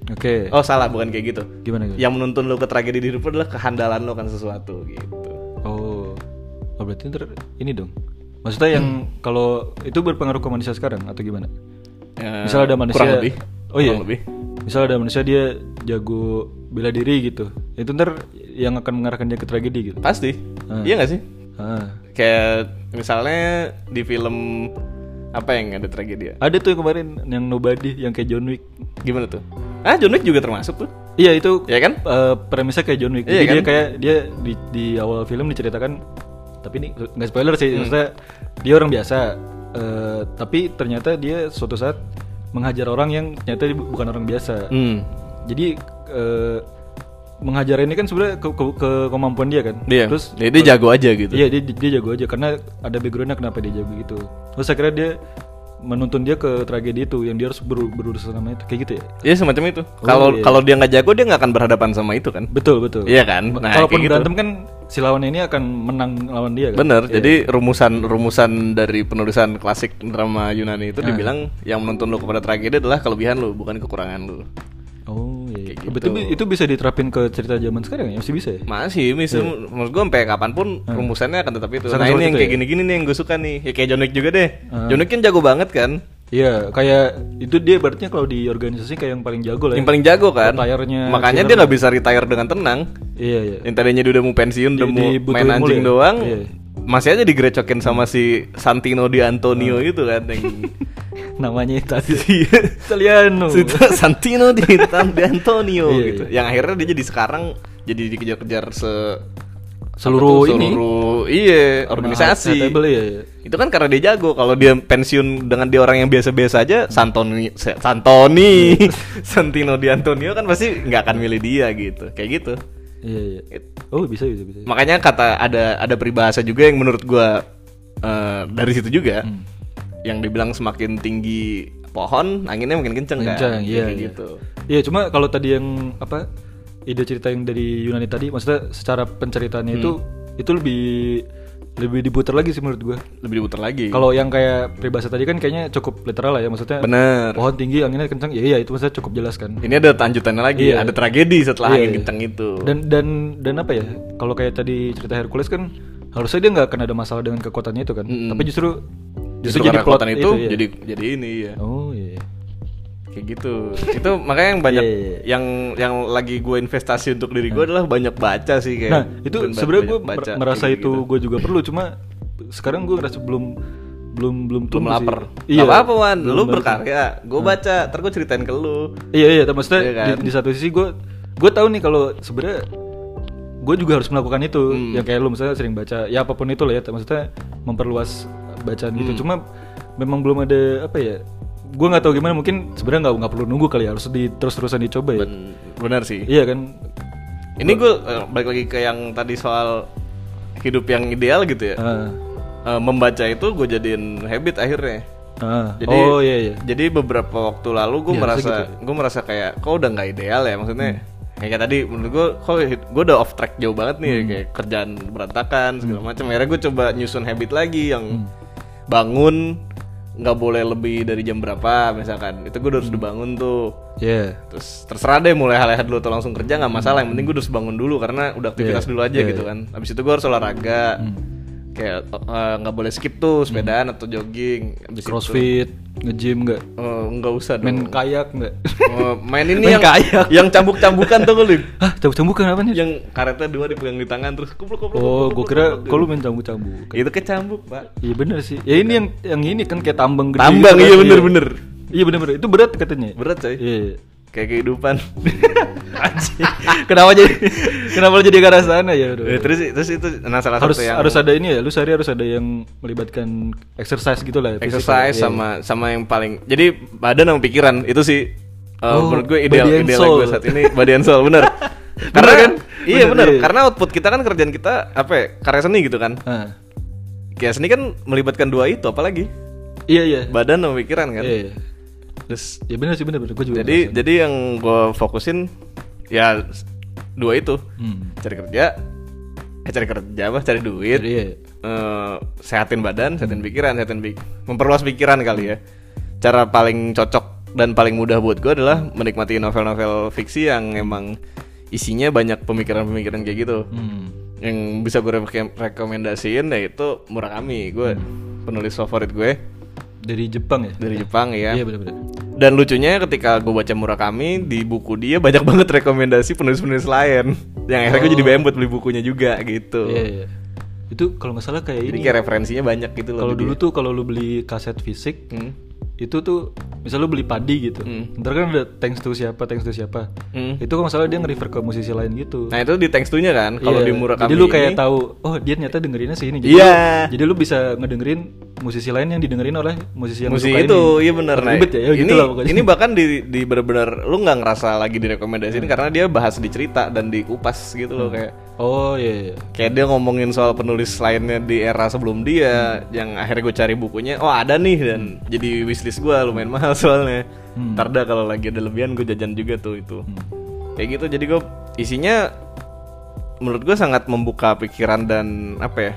oke
oh salah bukan kayak gitu
gimana gitu
yang menuntun lo ke tragedi di hidup lo adalah kehandalan lo kan sesuatu gitu.
Oh, oh berarti ntar ini dong. Maksudnya yang
Hmm.
kalau itu berpengaruh ke manusia sekarang atau gimana?
Eh,
Misal ada manusia
kurang lebih.
Oh iya.
Kurang lebih.
Misal ada manusia dia jago bela diri gitu. Itu ntar yang akan mengarahkan dia ke tragedi gitu.
Pasti. Iya nggak sih?
Ah.
Kayak misalnya di film apa yang ada tragedi ya?
Ada tuh yang kemarin yang nobody yang kayak John Wick.
Gimana tuh? Ah, John Wick juga termasuk tuh.
Iya itu
Ya kan?
eh, premisnya kayak John Wick.
Iya
Jadi
kan?
dia kayak dia di, di awal film diceritakan tapi ini nggak spoiler sih
Hmm.
maksudnya dia orang biasa eh, tapi ternyata dia suatu saat menghajar orang yang ternyata dia bu- bukan orang biasa.
Hmm.
Jadi eh, menghajar ini kan sebenarnya ke, ke- ke kemampuan dia kan.
Dia.
Terus
Iya, dia, dia jago aja gitu.
Iya dia, dia jago aja karena ada backgroundnya kenapa dia jago gitu. Terus akhirnya dia menuntun dia ke tragedi itu yang dia harus beru- berurusan sama itu kayak gitu ya.
Iya semacam itu. Kalau
iya.
kalau dia nggak jago dia nggak akan berhadapan sama itu kan.
Betul betul.
Iya kan? Nah,
Kalaupun
kayak gitu.
berantem kan si lawan ini akan menang lawan dia kan.
Bener, jadi rumusan rumusan dari penulisan klasik drama Yunani
Nah.
itu dibilang yang menuntun lo kepada tragedi adalah kelebihan lo, bukan kekurangan lo.
Oh iya.
Kayak gitu.
Betul itu bisa diterapin ke cerita zaman sekarang ya masih bisa ya.
Masih, misal iya, menurut gue sampai kapanpun
Nah.
rumusannya akan tetap itu.
Sama-sama
nah ini yang
gitu
kayak
ya? Nah.
gini-gini nih yang gue suka nih. Ya kayak John Wick juga deh. John Wick kan jago banget kan.
Iya kayak itu dia berarti kalau di organisasi kayak yang paling jago lah. ya.
Yang paling jago kan.
Retire-nya
Makanya
ya.
dia nggak bisa retire dengan tenang.
Iya iya.
Yang tadinya dia udah mau pensiun, udah mau
dibutuhin
main
mulu
anjing
ya?
doang.
Iya.
Masih aja digrecokin sama si Santino di
Nah.
Antonio itu kan. Yang,
Namanya tadi Italiano.
si Santino di, di Antonio
Iya,
gitu. Yang akhirnya dia jadi sekarang jadi dikejar-kejar se apa
Seluruh
tuh,
ini.
seluruh iya organisasi.
Table ya. ya.
Itu kan karena dia jago. Kalau dia pensiun dengan dia orang yang biasa-biasa aja, Santoni, Se- Santoni,
Iya.
Santino Di Antonio kan pasti nggak akan milih dia gitu. Kayak gitu.
Iya iya. Oh bisa bisa bisa.
Makanya kata ada ada peribahasa juga yang menurut gua eh, dari situ juga.
Hmm.
Yang dibilang semakin tinggi pohon, anginnya makin kenceng, kan.
Kencang,
Kayak
iya, iya.
gitu.
Iya cuma kalau tadi yang apa ide cerita yang dari Yunani tadi maksudnya secara penceritaannya itu
Hmm.
itu lebih lebih diputar lagi sih menurut gua
lebih diputar lagi
kalau yang kayak peribahasa tadi kan kayaknya cukup literal lah ya maksudnya
bener
pohon tinggi anginnya kencang ya iya itu maksudnya cukup jelas kan
ini ada lanjutannya lagi
Iya.
ada tragedi setelah
Iya,
angin
iya.
kencang itu
dan dan dan apa ya kalau kayak tadi cerita Hercules kan harusnya dia nggak akan ada masalah dengan kekuatannya itu kan
Mm-mm.
tapi justru
justru
jadi
karena
plot
kekuatan itu,
iya.
jadi jadi ini ya
oh iya
kayak gitu itu makanya yang banyak
Iya, iya.
yang yang lagi gue investasi untuk diri gue adalah banyak baca sih kayak
nah itu
Ben-
sebenarnya
Iya, banyak
gue
baca,
merasa
kayak
itu
gitu.
gue juga perlu cuma sekarang gue ngerasa belum belum belum
belum
tumbuh sih.
lapar
iya
apa apa wan lu
belum Nah. banget.
berkarya gue baca ntar gue ceritain ke lu
iya iya tapi maksudnya
Iya kan?
di, di satu sisi gue gue tahu nih kalau sebenarnya gue juga harus melakukan itu
Hmm.
yang kayak lu misalnya sering baca ya apapun itu lah ya maksudnya memperluas bacaan gitu
Hmm.
cuma memang belum ada apa ya gue nggak tahu gimana mungkin sebenarnya nggak nggak perlu nunggu kali ya harus di terus terusan dicoba ya
Ben- benar sih
iya kan
ini gue eh, balik lagi ke yang tadi soal hidup yang ideal gitu ya
Ah,
Eh, membaca itu gue jadiin habit akhirnya
ah.
Jadi-
oh iya iya
jadi beberapa waktu lalu gue
Iya, Hmm.
merasa
harusnya
gue merasa kayak kok udah nggak ideal ya maksudnya kayak tadi menurut gue kok gue udah off track jauh banget nih
Hmm.
kayak kerjaan berantakan segala macam akhirnya gue coba nyusun habit lagi
Hmm.
yang bangun nggak boleh lebih dari jam berapa misalkan itu gue
Hmm.
harus udah bangun tuh
iya
terus terserah deh mulai hal-hal dulu atau langsung kerja nggak masalah yang penting gue harus bangun dulu karena udah aktivitas
Iya,
dulu aja
iya, Hmm.
gitu kan abis itu gue harus olahraga kayak eh, nggak boleh skip tuh sepedaan atau jogging abis itu-
crossfit nge-gym nggak
Eh, nggak usah dong
main kayak nggak
Oh, main ini
Main
yang
kayak.
yang cambuk-cambukan tuh lu
hah cambuk-cambukan apa nih
yang karetnya dua dipegang di tangan terus kupluk kupluk
oh
kupluk,
gue
kupluk,
kira
kupluk.
kalau main cambuk-cambuk
itu kecambuk pak
Iya bener sih. Ya ini yang yang ini kan kayak tambang gede.
tambang
gitu kan.
iya bener-bener
Iya bener-bener. Itu berat katanya.
berat coy
Iya. iya.
kayak kehidupan
Anjing. kenapa jadi kenapa lo jadi ke arah sana ya? Aduh.
Eh, terus terus itu nah salah
harus
satu yang
harus ada ini ya. Lu sehari harus ada yang melibatkan exercise gitu lah. ya, physical.
exercise
Iya.
sama sama yang paling jadi badan sama pikiran itu sih uh,
Oh,
menurut gue
body
ideal
and
ideal
soul.
gue saat ini badan soal bener karena
Bener
kan
kan?
iya
Bener,
bener
iya.
karena output kita kan kerjaan kita apa ya, karya seni gitu kan
Ah.
kayak seni kan melibatkan dua itu apalagi
Iya iya.
badan sama pikiran kan
Iya. iya.
terus
Ya bener sih bener bener. Gue juga.
jadi jadi yang gue fokusin ya s- dua itu
ngerasa. Hmm.
cari kerja eh, cari kerja apa cari duit
Jadi, iya. iya.
eh, sehatin badan sehatin pikiran sehatin pik- memperluas pikiran kali ya cara paling cocok dan paling mudah buat gue adalah menikmati novel-novel fiksi yang emang isinya banyak pemikiran-pemikiran kayak gitu
Hmm.
yang bisa gue re- rekomendasiin yaitu Murakami gue penulis favorit gue
Dari Jepang ya.
dari Jepang ya
Iya bener bener.
dan lucunya ketika gue baca Murakami di buku dia banyak banget rekomendasi penulis-penulis lain. Yang akhirnya gue jadi bembet beli bukunya juga gitu.
Oh. Iya iya. Itu kalau nggak salah kayak
Jadi
ini.
kayak referensinya banyak gitu loh.
Kalau
di
dulu
dia.
tuh kalau lu beli kaset fisik,
Hmm.
itu tuh misal lu beli padi gitu
Hmm.
ntar kan ada thanks to siapa thanks to siapa
Hmm.
itu kalau masalah dia nge-refer ke musisi lain gitu
Nah itu di thanks to-nya kan. Kalau
Iya,
di Murakami
jadi lu kayak
ini,
tahu oh dia ternyata dengerinnya sih ini jadi,
Iya.
lu, jadi lu bisa ngedengerin musisi lain yang didengerin oleh musisi yang lu
musik
suka
itu
ini.
iya bener nah,
Ribet ya, ya
ini
gitu lah pokoknya.
ini bahkan di di benar-benar lu nggak ngerasa lagi direkomendasiin karena dia bahas di cerita dan dikupas gitu loh kayak
oh iya iya.
kayak dia ngomongin soal penulis lainnya di era sebelum dia yang akhirnya gue cari bukunya oh ada nih dan
Hmm.
jadi wishlist gue lumayan mahal soalnya ntar dah kalau lagi ada lebihan gue jajan juga tuh itu
Hmm.
kayak gitu jadi gue isinya menurut gue sangat membuka pikiran dan apa ya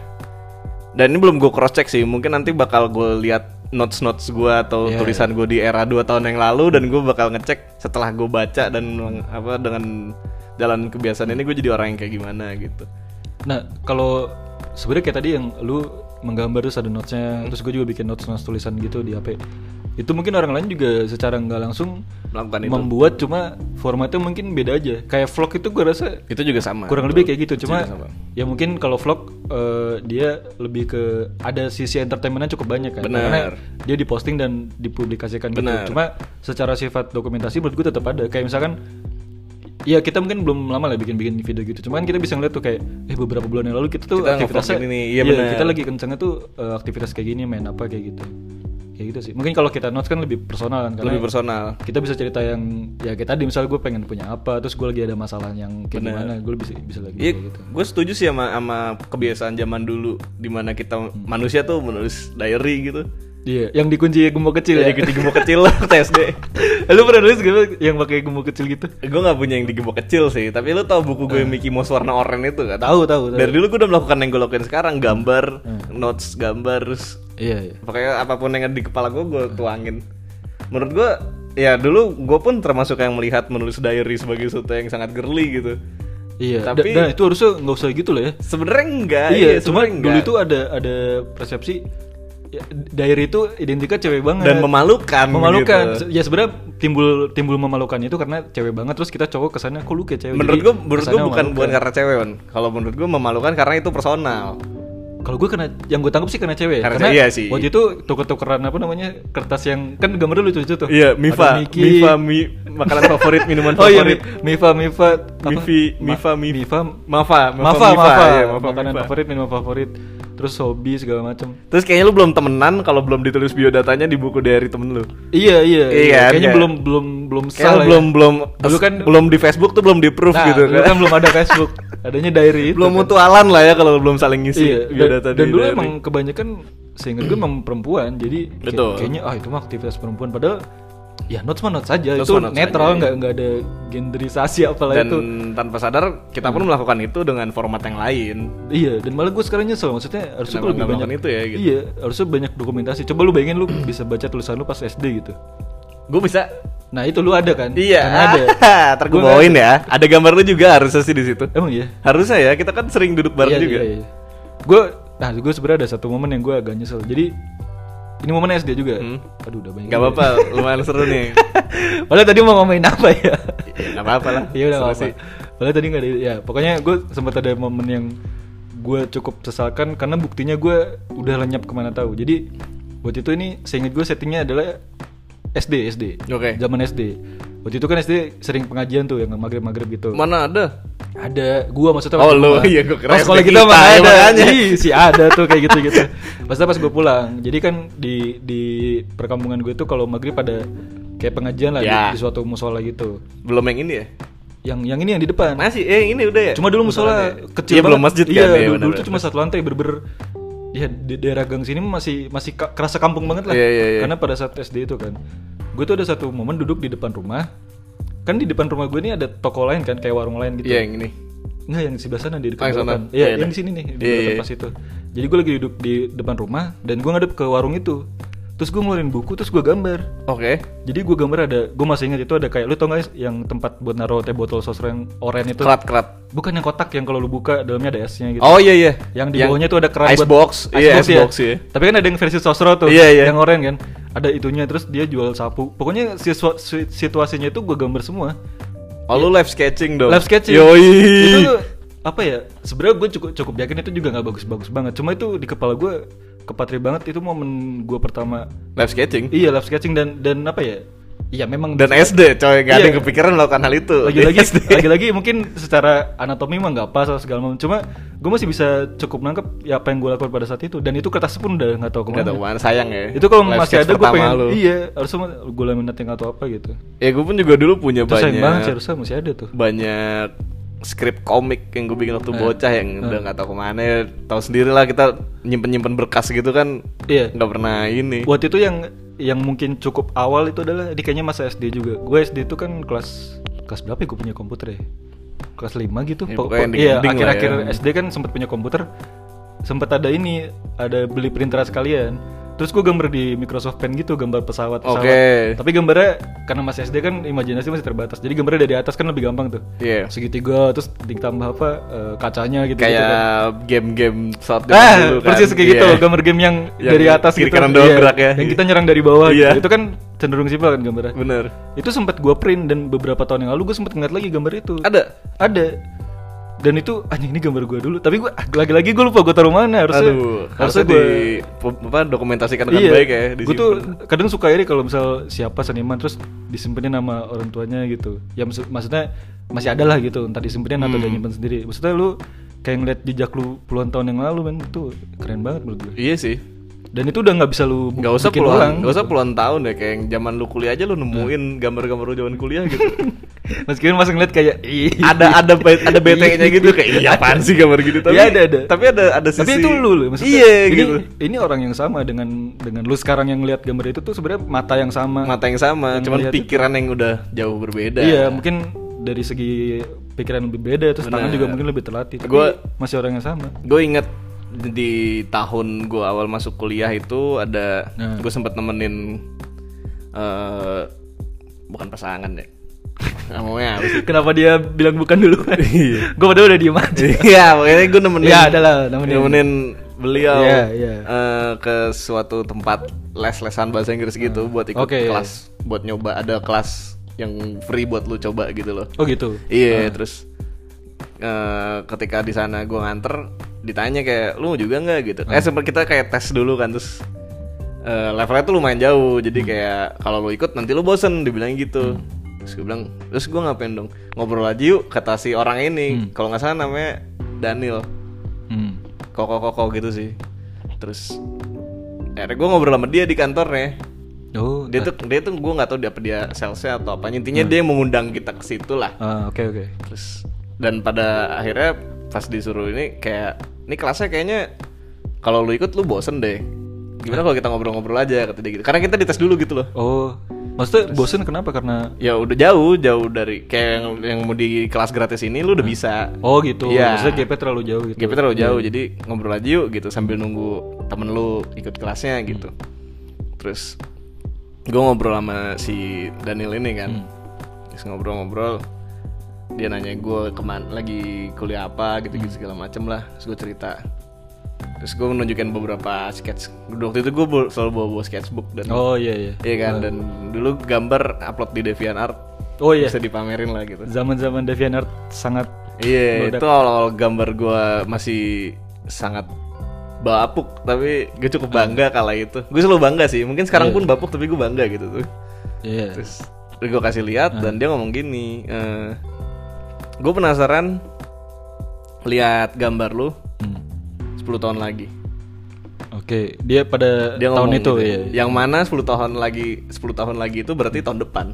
dan ini belum gue cross check sih mungkin nanti bakal gue lihat notes notes gue atau
Iya,
tulisan gue di era 2 tahun yang lalu dan gue bakal ngecek setelah gue baca dan meng- apa dengan jalan kebiasaan ini gue jadi orang yang kayak gimana gitu
nah kalau sebenarnya kayak tadi yang lu menggambar terus ada
Hmm.
notesnya terus gue juga bikin notes notes tulisan gitu di hp itu mungkin orang lain juga secara nggak langsung
melakukan itu
membuat cuma formatnya mungkin beda aja kayak vlog itu gue rasa
itu juga sama
kurang lebih kayak gitu cuma
sama.
ya mungkin kalau vlog eh, dia lebih ke ada sisi entertainmentnya cukup banyak kan
Benar.
karena dia diposting dan dipublikasikan
Benar.
gitu cuma secara sifat dokumentasi menurut gue tetap ada kayak misalkan ya kita mungkin belum lama lah bikin-bikin video gitu cuman kita bisa ngeliat tuh kayak eh beberapa bulan yang lalu kita tuh
Kita
aktivitasnya
nge-vlog ini nih, iya benar.
kita lagi kencengnya tuh eh, aktivitas kayak gini main apa kayak gitu kayak gitu sih mungkin kalau kita notes kan lebih personal kan karena
lebih personal
kita bisa cerita yang ya kayak tadi misalnya gue pengen punya apa terus gue lagi ada masalah yang kayak gimana gue bisa bisa lagi
Iya,
kayak gitu
gue setuju sih sama, sama kebiasaan zaman dulu dimana kita manusia tuh menulis diary gitu
Iya, yang dikunci gembok kecil ya.
Jadi di gembok kecil lah waktu SD.
lu pernah nulis gak Bang, yang pakai gembok kecil gitu?
gue nggak punya yang di gembok kecil sih, tapi lu tau buku
Hmm.
gue Mickey Mouse warna oranye itu kan?
Tahu, tahu, tahu.
Dari dulu gue udah melakukan yang gue lakuin sekarang, gambar,
Hmm.
notes, gambar, terus
Iya, iya.
pokoknya apapun yang ada di kepala gue gue tuangin. Menurut gue ya dulu gue pun termasuk yang melihat menulis diary sebagai sesuatu yang sangat girly gitu.
Iya,
Tapi-
tapi itu harusnya nggak usah gitu lah ya.
Sebenarnya enggak.
iya, cuma
sebenarnya
dulu
enggak.
itu ada ada persepsi ya, diary itu identiknya cewek banget.
dan memalukan.
memalukan.
gitu.
Se- Ya sebenarnya timbul timbul memalukannya itu karena cewek banget terus kita cowok kesannya kok lu kayak cewek.
Menurut
Jadi
gue, menurut gue
kesannya
bukan
memalukan.
bukan karena cewek, Wan. Kalau menurut gue memalukan karena itu personal.
Kalau gue kena yang gue tangkap sih karena cewek. ya.
Karena
Karena,
cewek, iya sih.
waktu itu tuker-tukeran apa namanya kertas yang kan gambar lucu lucu tuh.
Iya,
Ada
Miva,
Mickey.
Miva, mi, makanan favorit, minuman
Oh iya,
favorit.
Miva, Miva, apa?
Mivi- Miva, Mif-
Miva,
Mafa,
Mafa, Mafa,
iya, Mafa,
makanan
Miva.
favorit, minuman favorit, terus hobi segala macam.
Terus kayaknya lu belum temenan kalau belum ditulis biodatanya di buku diary temen lu.
Iya, iya,
Iya,
iya. Kayaknya
iya.
belum belum belum
Kayaknya
salah.
lu belum belum
ya. Dulu kan-
belum di Facebook tuh belum di
ya.
approve
Nah,
gitu
dulu
kan.
kan belum ada Facebook. Adanya diary itu.
belum
kan.
mutualan lah ya kalau belum saling ngisi
Iya,
biodata
dan, dan
di
dulu
diary.
emang kebanyakan seingat gue memang perempuan. Jadi kayak-
Betul.
kayaknya ah itu mah aktivitas perempuan padahal ya notes mah notes aja
Notes
itu
mah notes aja,
netral
iya.
nggak nggak ada genderisasi apalah
dan
itu Hmm.
tanpa sadar kita pun melakukan itu dengan format yang lain.
Iya, dan malah gue sekarang nyesel maksudnya harusnya
Kenapa
gue lebih
nggak
banyak
melakukan itu ya, gitu?
Iya, harusnya banyak dokumentasi. Coba lu bayangin lu bisa baca tulisan lu pas SD gitu.
Gue bisa
Nah, itu lu ada kan?
Iya.
Karena ada.
Ntar gue
Gua nggak
bawain ya. Ada gambar lu juga harusnya sih di situ.
Emang iya.
Harusnya ya, kita kan sering duduk bareng juga.
Gue nah gue sebenarnya ada satu momen yang gue agak nyesel. Jadi ini momen SD juga.
Hmm.
Aduh udah banyak.
Gak apa-apa, lumayan seru nih.
Padahal tadi mau ngomongin apa ya?
Ya, Gak apa-apa lah.
Iya udah
seru
apa.
sih.
Padahal tadi nggak ada. Ya pokoknya gue sempat ada momen yang gue cukup sesalkan karena buktinya gue udah lenyap kemana tahu. Jadi waktu itu ini seingat gue settingnya adalah SD SD.
Oke.
Zaman SD. Waktu itu kan SD sering pengajian tuh yang maghrib maghrib gitu.
Mana ada?
ada gua maksudnya
Oh,
waktu
lu.
gua-
Iya, gua kira
pas
SD
sekolah kita
kita,
mah
ya,
ada
makanya.
Ih, si ada tuh kayak gitu gitu maksudnya pas gue pulang jadi kan di di perkampungan gue tuh kalau maghrib ada kayak pengajian lah di-
Ya.
di, suatu musola gitu
Belum yang ini ya?
yang yang ini yang di depan
Masih, eh ini udah ya?
cuma dulu musola
Musolanya ya?
kecil
Iya, belum
banget.
masjid
iya,
kan? ya,
dulu, dulu
benar-benar.
tuh cuma satu lantai berber ya di daerah gang sini masih masih ka- kerasa kampung banget lah
Iya, iya, iya.
karena pada saat SD itu kan gue tuh ada satu momen duduk di depan rumah kan di depan rumah gue ini ada toko lain kan kayak warung lain gitu
Iya yang ini.
Enggak yang di sebelah sana
Oh,
di dekat
yang sana.
depan. Iya,
Iya,
yang
iya.
di sini nih, di
Iya,
depan
iya.
pas itu. Jadi gue lagi duduk di depan rumah dan gue ngadep ke warung itu. Terus gue ngeluarin buku terus gue gambar.
Oke.
Jadi gue gambar ada, gue masih ingat itu ada kayak lu tau gak yang tempat buat naruh teh botol sosro yang oranye itu?
Kerat kerat.
Bukan yang kotak yang kalau lu buka dalamnya ada esnya gitu.
Oh iya iya.
Yang di bawahnya tuh ada keran
ice
buat-
box.
Ice
Iya
box
ice
ya.
box ya.
Tapi kan ada yang versi sosro tuh,
Iya, iya.
yang oranye kan. Ada itunya terus dia jual sapu. Pokoknya siswa- si- situasinya itu gue gambar semua.
Oh lu live sketching dong.
Iya. Live sketching.
Yoi.
ya? Itu tuh, apa ya? Sebenarnya gue cukup cukup yakin itu juga nggak bagus-bagus banget. Cuma itu di kepala gue kepatri banget itu momen gue pertama.
Live sketching.
Iya live sketching dan dan apa ya? Iya memang
Dan SD coy, gak ada
Iya.
yang kepikiran melakukan hal itu.
lagi-lagi
Di SD.
lagi-lagi mungkin secara anatomi mah nggak pas atau segala macam. Cuma gue masih bisa cukup nangkep ya apa yang gue lakukan pada saat itu. Dan itu kertas pun udah nggak
Gak
tahu kemana.
tau kemana, sayang ya
Itu kalau
Live
masih
sketch
ada gue
pertama
pengen
lu.
iya harusnya gue laminating atau apa gitu.
Ya gue pun juga dulu punya
Itu sayang banget sih
banyak
harusnya masih ada tuh.
Banyak skrip komik yang gue bikin waktu
Eh,
bocah yang
eh.
udah gak tau kemana ya. Tau sendiri lah kita nyimpen-nyimpen berkas gitu kan
Iya.
Gak pernah ini
Waktu itu yang yang mungkin cukup awal itu adalah ini kayaknya masa SD juga. Gue SD itu kan kelas kelas berapa ya gue punya komputer ya? Kelas 5 gitu.
Ya,
Po-
pokoknya yang
po- Iya,
dinding lah
akhir-akhir
ya.
SD kan sempat punya komputer. Sempat ada ini, ada beli printer sekalian. Terus gue gambar di Microsoft Paint gitu, gambar pesawat pesawat.
Oke.
Tapi gambarnya karena masih SD kan imajinasi masih terbatas. Jadi gambarnya dari atas kan lebih gampang tuh.
Iya
Segitiga terus ditambah apa eh, kacanya gitu
Kayak game-game pesawat zaman
Ah,
dulu kan.
persis kayak gitu
Iya.
gambar game yang,
Yang
dari atas
kiri
gitu.
kanan doang gerak ya.
Yang kita nyerang dari bawah
Iya.
gitu. Itu kan cenderung simpel kan gambarnya.
Bener
Itu sempat gua print dan beberapa tahun yang lalu gue sempat ngeliat lagi gambar itu.
Ada
Ada. Dan itu anjing ini gambar gua dulu, tapi gua ah, lagi-lagi gue lupa gue taruh mana harusnya.
Aduh, harusnya di
gua-
apa, dokumentasikan dengan baik ya di
Gue Iya. tuh kadang suka ini kalau misal siapa seniman terus disimpenin nama orang tuanya gitu. Ya maksud- maksudnya masih ada lah gitu, entah disimpenin atau dia
Hmm.
nyimpen sendiri. Maksudnya lu kayak ngeliat jejak lu puluhan tahun yang lalu men itu keren banget menurut gue.
Iya sih
Dan itu udah nggak bisa lu
Gak usah
bikin
puluhan,
ulang. Hmm.
nggak usah puluhan tahun deh kayak yang zaman lu kuliah aja lu nemuin gambar-gambar lu zaman kuliah gitu.
Meskipun masih ngeliat kayak "Ih."
ada ada be- ada BTN-nya gitu kayak iya apaan sih gambar gitu tapi
Iya, ada, ada.
Tapi ada ada sisi
Tapi itu lu loh maksudnya.
Iya
ini,
gitu.
Ini orang yang sama dengan dengan lu sekarang yang ngeliat gambar itu tuh sebenarnya mata yang sama.
Mata yang sama,
Yang
cuman
ngeliat
pikiran yang udah jauh berbeda.
Iya, mungkin dari segi pikiran lebih beda terus tangan
Bener.
juga mungkin lebih terlatih. Tapi
Gua-
masih orang yang sama.
Gue inget di tahun gue awal masuk kuliah itu ada
Nah.
gue sempet nemenin eh bukan pasangan deh. Namanya apa sih?
Kenapa dia bilang bukan dulu? Gue padahal udah diem aja.
Iya, makanya gue nemenin.
Iya, adalah, nemenin.
nemenin beliau
Iya, iya.
eh, ke suatu tempat les-lesan bahasa Inggris gitu buat ikut
Hmm. Oke. iya,
kelas, buat nyoba ada kelas yang free buat lu coba gitu loh.
Oh gitu.
Iya, terus eh, ketika di sana gue nganter ditanya kayak lu juga nggak gitu.
Hmm.
Eh sempat kita kayak tes dulu kan terus eh, levelnya tuh lumayan jauh. Jadi
Hmm.
kayak kalau lu ikut nanti lu bosen dibilang gitu. Terus gue bilang, terus gue ngapain dong? Ngobrol aja yuk kata si orang ini. Kalau nggak salah namanya Daniel.
Hmm.
Koko-koko gitu sih. Terus akhirnya gue ngobrol sama dia di kantornya
Oh,
dia tuh dia tuh gue nggak tahu dia apa dia salesnya atau apa intinya dia mengundang kita ke situ lah
Ah, oke oke.
terus dan pada akhirnya pas disuruh ini kayak ini kelasnya kayaknya kalau lu ikut lu bosen deh gimana kalau kita ngobrol-ngobrol aja kata dia gitu karena kita dites dulu gitu loh
Oh, maksudnya bosen kenapa? Karena
ya udah jauh jauh dari kayak yang, yang mau di kelas gratis ini lu udah bisa
oh gitu.
Iya.
Maksudnya gapnya terlalu jauh gitu.
GP terlalu jauh jadi ngobrol aja yuk gitu sambil nunggu temen lu ikut kelasnya gitu terus gue ngobrol sama si Daniel ini kan
Hmm.
terus ngobrol-ngobrol dia nanya gue kemana lagi kuliah apa gitu-gitu segala macem lah terus gue cerita terus gue menunjukkan beberapa sketch waktu itu gue selalu bawa-bawa sketchbook dan
Oh iya iya.
iya kan dan dulu gambar upload di DeviantArt
Oh iya.
bisa dipamerin lah gitu
Zaman-zaman DeviantArt sangat
Iya,
Meledak.
itu awal-awal gambar gua masih sangat bapuk, tapi gue cukup bangga
Hmm.
kala itu. Gue selalu bangga sih, mungkin sekarang pun bapuk tapi gue bangga gitu tuh.
Iya.
Terus gue kasih lihat
Hmm.
dan dia ngomong gini, gue penasaran lihat gambar lu
Hmm.
10 tahun lagi.
Oke, dia pada
Dia
tahun
ngomong
itu
gitu.
ya.
Yang mana 10 tahun lagi 10 tahun lagi itu berarti tahun depan.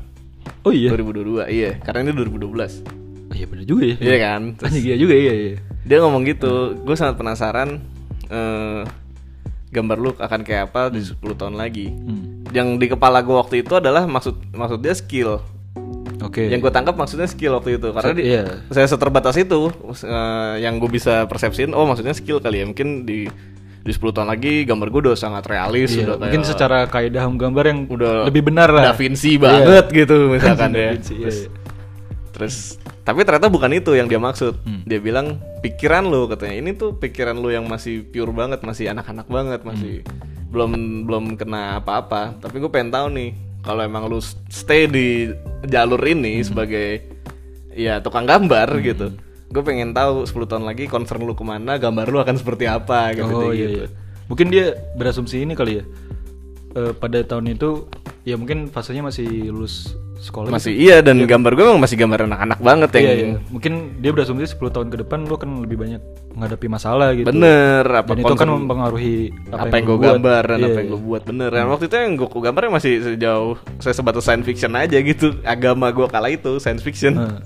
Oh iya.
2022, iya. Karena ini 2012.
Oh, iya benar juga ya.
Iya kan? Terus-
Anjing, iya juga iya iya.
dia ngomong gitu gue sangat penasaran eh, gambar lu akan kayak apa di 10 tahun lagi
Hmm.
yang di kepala gue waktu itu adalah maksud maksud dia skill
Oke.
yang gue tangkap maksudnya skill waktu itu karena
Se-
di,
iya.
saya seterbatas itu eh, yang gue bisa persepsiin oh maksudnya skill kali ya mungkin di di 10 tahun lagi gambar gue udah sangat realis
Iya,
udah
mungkin
kayak-
secara kaidah gambar yang
udah
lebih benar lah. Iya.
Da Vinci banget gitu misalkan ya
Vinci, iya,
Terus-
iya.
terus tapi ternyata bukan itu yang dia maksud
Hmm.
dia bilang pikiran lu katanya ini tuh pikiran lu yang masih pure banget masih anak-anak banget masih
Hmm.
belum belum kena apa-apa tapi gue pengen tahu nih kalau emang lu stay di jalur ini
Hmm.
sebagai ya tukang gambar gitu gue pengen tahu 10 tahun lagi concern lu kemana gambar lu akan seperti apa gitu gitu.
Oh iya, iya. Mungkin dia berasumsi ini kali ya. Eh, pada tahun itu ya mungkin fasenya masih lulus sekolah. gitu.
masih iya dan gambar gue emang masih gambar anak-anak banget yang
Iya, iya. Mungkin dia berasumsi 10 tahun ke depan lu akan lebih banyak menghadapi masalah gitu.
Bener, apa
Dan itu kan
concern-
mempengaruhi
apa, yang
lu
gue
buat.
gambar dan
Iya,
apa yang gue buat bener. Dan waktu itu yang gue gambarnya masih sejauh saya sebatas science fiction aja gitu. Agama gue kala itu science fiction.
Nah,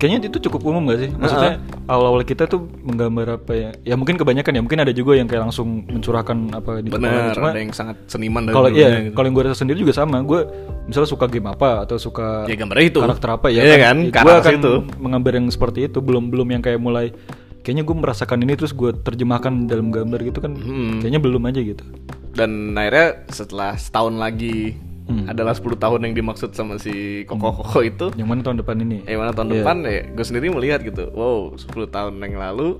Kayaknya itu cukup umum gak sih? Maksudnya awal-awal kita tuh menggambar apa ya? Ya mungkin kebanyakan ya, mungkin ada juga yang kayak langsung mencurahkan apa
bener,
di kepala. gitu. Nah, Cuma
ada yang sangat seniman dari
kalau
dulunya
iya,
gitu.
kalau yang gue rasa sendiri juga sama. Gue misalnya suka game apa atau suka
Ya, gambarnya itu.
iya, karakter apa ya?
Iya kan?
Ya,
Ke
Gue
arah
akan
situ.
menggambar yang seperti itu. Belum belum yang kayak mulai. Kayaknya gue merasakan ini terus gue terjemahkan dalam gambar gitu kan.
Hmm.
Kayaknya belum aja gitu.
Dan akhirnya setelah setahun lagi
Hmm.
adalah 10 tahun yang dimaksud sama si koko-koko itu.
Yang mana tahun depan ini?
Eh mana tahun depan ya gue sendiri melihat gitu. Wow, 10 tahun yang lalu.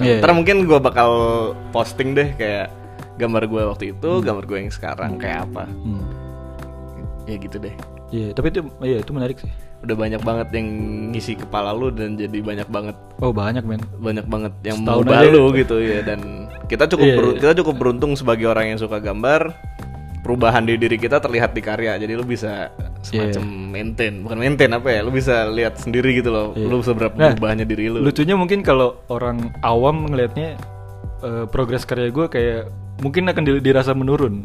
Iya,
Ntar mungkin gue bakal posting deh kayak gambar gue waktu itu, gambar gue yang sekarang kayak apa.
Hmm.
Ya gitu deh.
Iya, tapi itu iya itu menarik sih.
udah banyak banget yang ngisi kepala lu dan jadi banyak banget
Oh banyak men.
banyak banget yang
Setahun
mengubah
aja.
lu gitu ya dan kita cukup
Iya,
beru- kita cukup beruntung sebagai orang yang suka gambar perubahan di diri kita terlihat di karya jadi lu bisa semacam
Iya.
maintain bukan maintain apa ya lu bisa lihat sendiri gitu loh lu seberapa
Nah,
berubahnya diri lu
Lucunya mungkin kalau orang awam ngelihatnya eh, progres karya gue kayak mungkin akan di- dirasa menurun.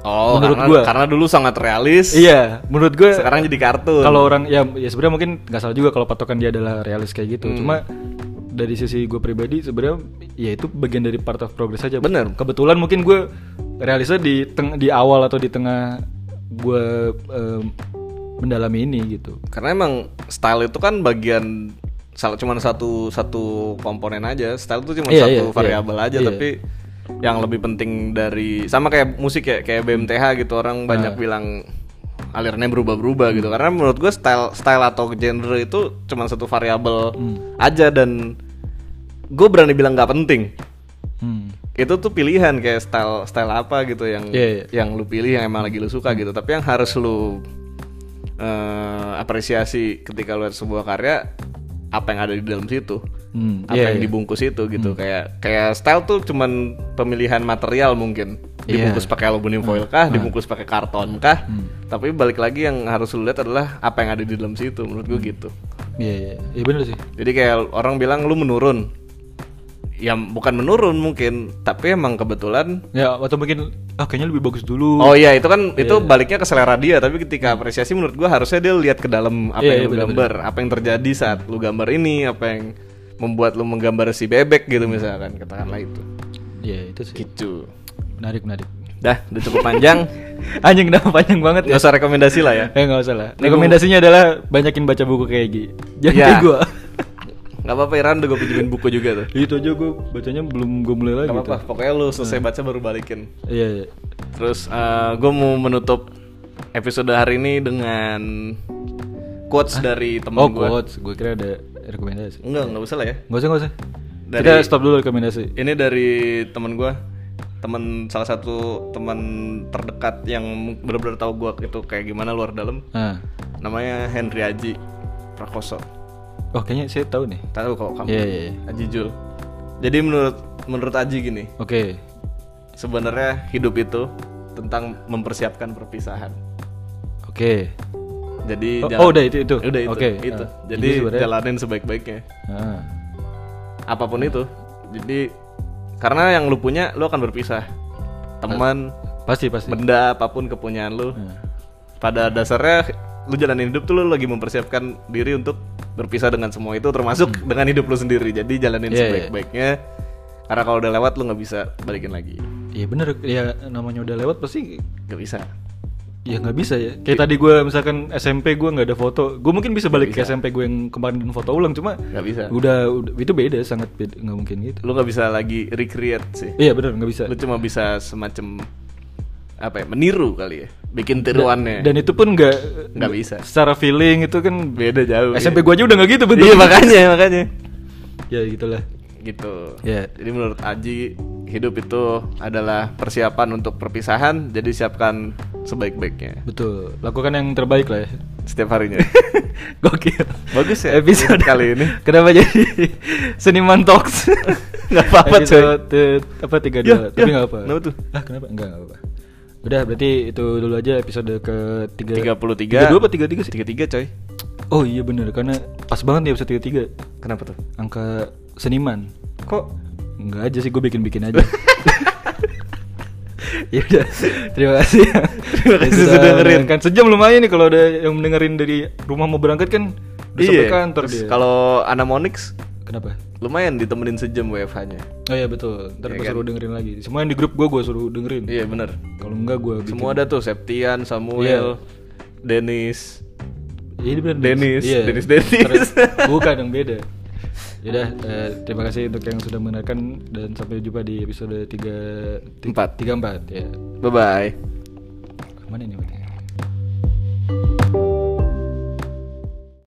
Oh,
Menurut
karena,
gua.
karena dulu sangat realis.
Iya, menurut gue
Sekarang jadi kartun.
kalau orang ya ya sebenarnya mungkin nggak salah juga kalau patokan dia adalah realis kayak gitu. Cuma dari sisi gue pribadi sebenarnya ya itu bagian dari part of progress aja.
Bener.
Kebetulan mungkin gue realisnya di teng- di awal atau di tengah gue em, mendalami ini gitu.
karena emang style itu kan bagian salah cuman satu satu komponen aja style itu cuma
Iya,
satu
iya,
variabel
iya.
aja
Iya.
tapi yang lebih penting dari sama kayak musik ya kayak BMTH gitu orang
Ah.
banyak bilang alirannya berubah-berubah gitu karena menurut gue style style atau genre itu cuma satu variabel
Hmm.
aja dan gue berani bilang nggak penting
Hmm.
itu tuh pilihan kayak style style apa gitu yang
Iya,
yang lu pilih yang emang lagi lu suka gitu tapi yang harus lu eh, apresiasi ketika lu lihat sebuah karya apa yang ada di dalam situ
Hmm,
apa
iya,
yang
iya.
dibungkus itu gitu kayak kayak style tuh cuman pemilihan material mungkin
Iya. Hmm.
dibungkus pakai aluminium foil kah dibungkus pakai karton kah tapi balik lagi yang harus lu lihat adalah apa yang ada di dalam situ menurut gue gitu
Iya, iya, iya bener sih.
jadi kayak orang bilang lu menurun ya bukan menurun mungkin tapi emang kebetulan
Ya atau mungkin ah kayaknya lebih bagus dulu.
Oh iya Hmm. itu kan itu baliknya ke selera dia tapi ketika apresiasi menurut gua harusnya dia lihat ke dalam apa
Iya, iya,
yang lu gambar, apa yang terjadi saat lu gambar ini, apa yang membuat lu menggambar si bebek gitu misalkan katakanlah itu.
Iya itu sih.
Gitu.
Menarik menarik.
Dah, udah cukup panjang.
Anjing kenapa panjang banget ya?
Gak usah rekomendasi lah ya.
Eh nggak usah lah. Rekomendasinya adalah banyakin baca buku kayak gini. Jangan
Iya.
kayak gue.
Gak apa-apa Iran udah gue pinjemin buku juga tuh.
itu aja gue bacanya belum gue mulai lagi.
Gak
tuh.
apa-apa, pokoknya lu selesai baca baru balikin.
Iya iya.
Terus eh, gua mau menutup episode hari ini dengan quotes dari temen
Oh
gua.
quotes, gue kira ada rekomendasi.
Enggak, nggak usah lah ya.
Gak usah gak usah.
Dari-
Kita stop dulu rekomendasi.
Ini dari teman gua teman salah satu teman terdekat yang benar-benar tahu gua itu kayak gimana luar dalam.
Nah.
Namanya Henry Aji Prakoso.
Oh kayaknya saya tahu nih.
Tahu kok kamu?
Iya iya. iya.
Aji Jul. Jadi menurut menurut Aji gini,
Oke.
sebenarnya hidup itu tentang mempersiapkan perpisahan.
Oke.
Jadi
Oh,
jalan-
oh, udah itu- itu.
Udah itu.
Oke,
itu.
ah.
Jadi
Jadi sebenarnya-
jalanin sebaik-baiknya.
Ah.
Apapun itu. Jadi karena yang lu punya lu akan berpisah. Teman,
Pasti pasti.
benda apapun kepunyaan lu
Nah.
pada dasarnya lu jalanin hidup tuh lu lagi mempersiapkan diri untuk berpisah dengan semua itu termasuk dengan hidup lu sendiri jadi jalanin
Hmm. Iya, iya.
sebaik-baiknya karena kalau udah lewat lu nggak bisa balikin lagi
Iya bener. Ya namanya udah lewat pasti
nggak bisa
Ya nggak bisa ya. Kayak tadi gue misalkan SMP gue nggak ada foto, gue mungkin bisa balik ke SMP gue yang kemarin foto ulang, cuma
nggak bisa
udah, udah- itu beda, sangat beda, nggak mungkin gitu.
lu nggak bisa lagi recreate sih
Iya bener nggak bisa.
lu cuma bisa semacam apa ya meniru kali ya bikin tiruannya
Dan itu pun nggak
nggak bisa
secara feeling itu kan
beda jauh
SMP gue aja udah nggak gitu
gitu.
betul.
iya makanya makanya
Ya gitulah.
gitu
Ya.
Jadi menurut Aji hidup itu adalah persiapan untuk perpisahan, jadi siapkan sebaik-baiknya
Betul, lakukan yang terbaik lah ya.
setiap harinya.
Gokil.
Bagus ya
Episode
kali ini.
Kenapa jadi seniman talks?
Nggak apa-apa, coy.
Episode, eh, apa tiga
Ya,
dua? Tapi
ya.
nggak apa.
Kenapa tuh?
Ah kenapa? Enggak nggak apa. Udah berarti itu dulu aja episode ke tiga.
33.
dua apa tiga tiga sih?
33 coy.
Oh iya bener karena pas banget nih episode tiga tiga
Kenapa tuh?
angka seniman. Kok? Enggak aja sih gue bikin bikin aja. ya udah terima kasih
Terima kasih sudah dengerin.
kan sejam lumayan nih kalau ada yang mendengarin dari rumah mau berangkat kan udah sampai kantor
Iya, terus
dia
Kalau Anamonix
kenapa
lumayan ditemenin sejam WFH-nya.
oh iya betul ntar
Iya
gue
kan?
suruh dengerin lagi semua yang di grup gue gue suruh dengerin
Iya bener
kalau enggak gue bikin
Semua ada tuh Septian, Samuel, Dennis.
iya dia bilang
Dennis.
Iya.
Dennis, Dennis.
Ntar- bukan yang beda Yaudah, eh, terima kasih untuk yang sudah mendengarkan dan sampai jumpa di episode tiga
Empat.
tiga empat ya
Bye bye.
mana ini Pak?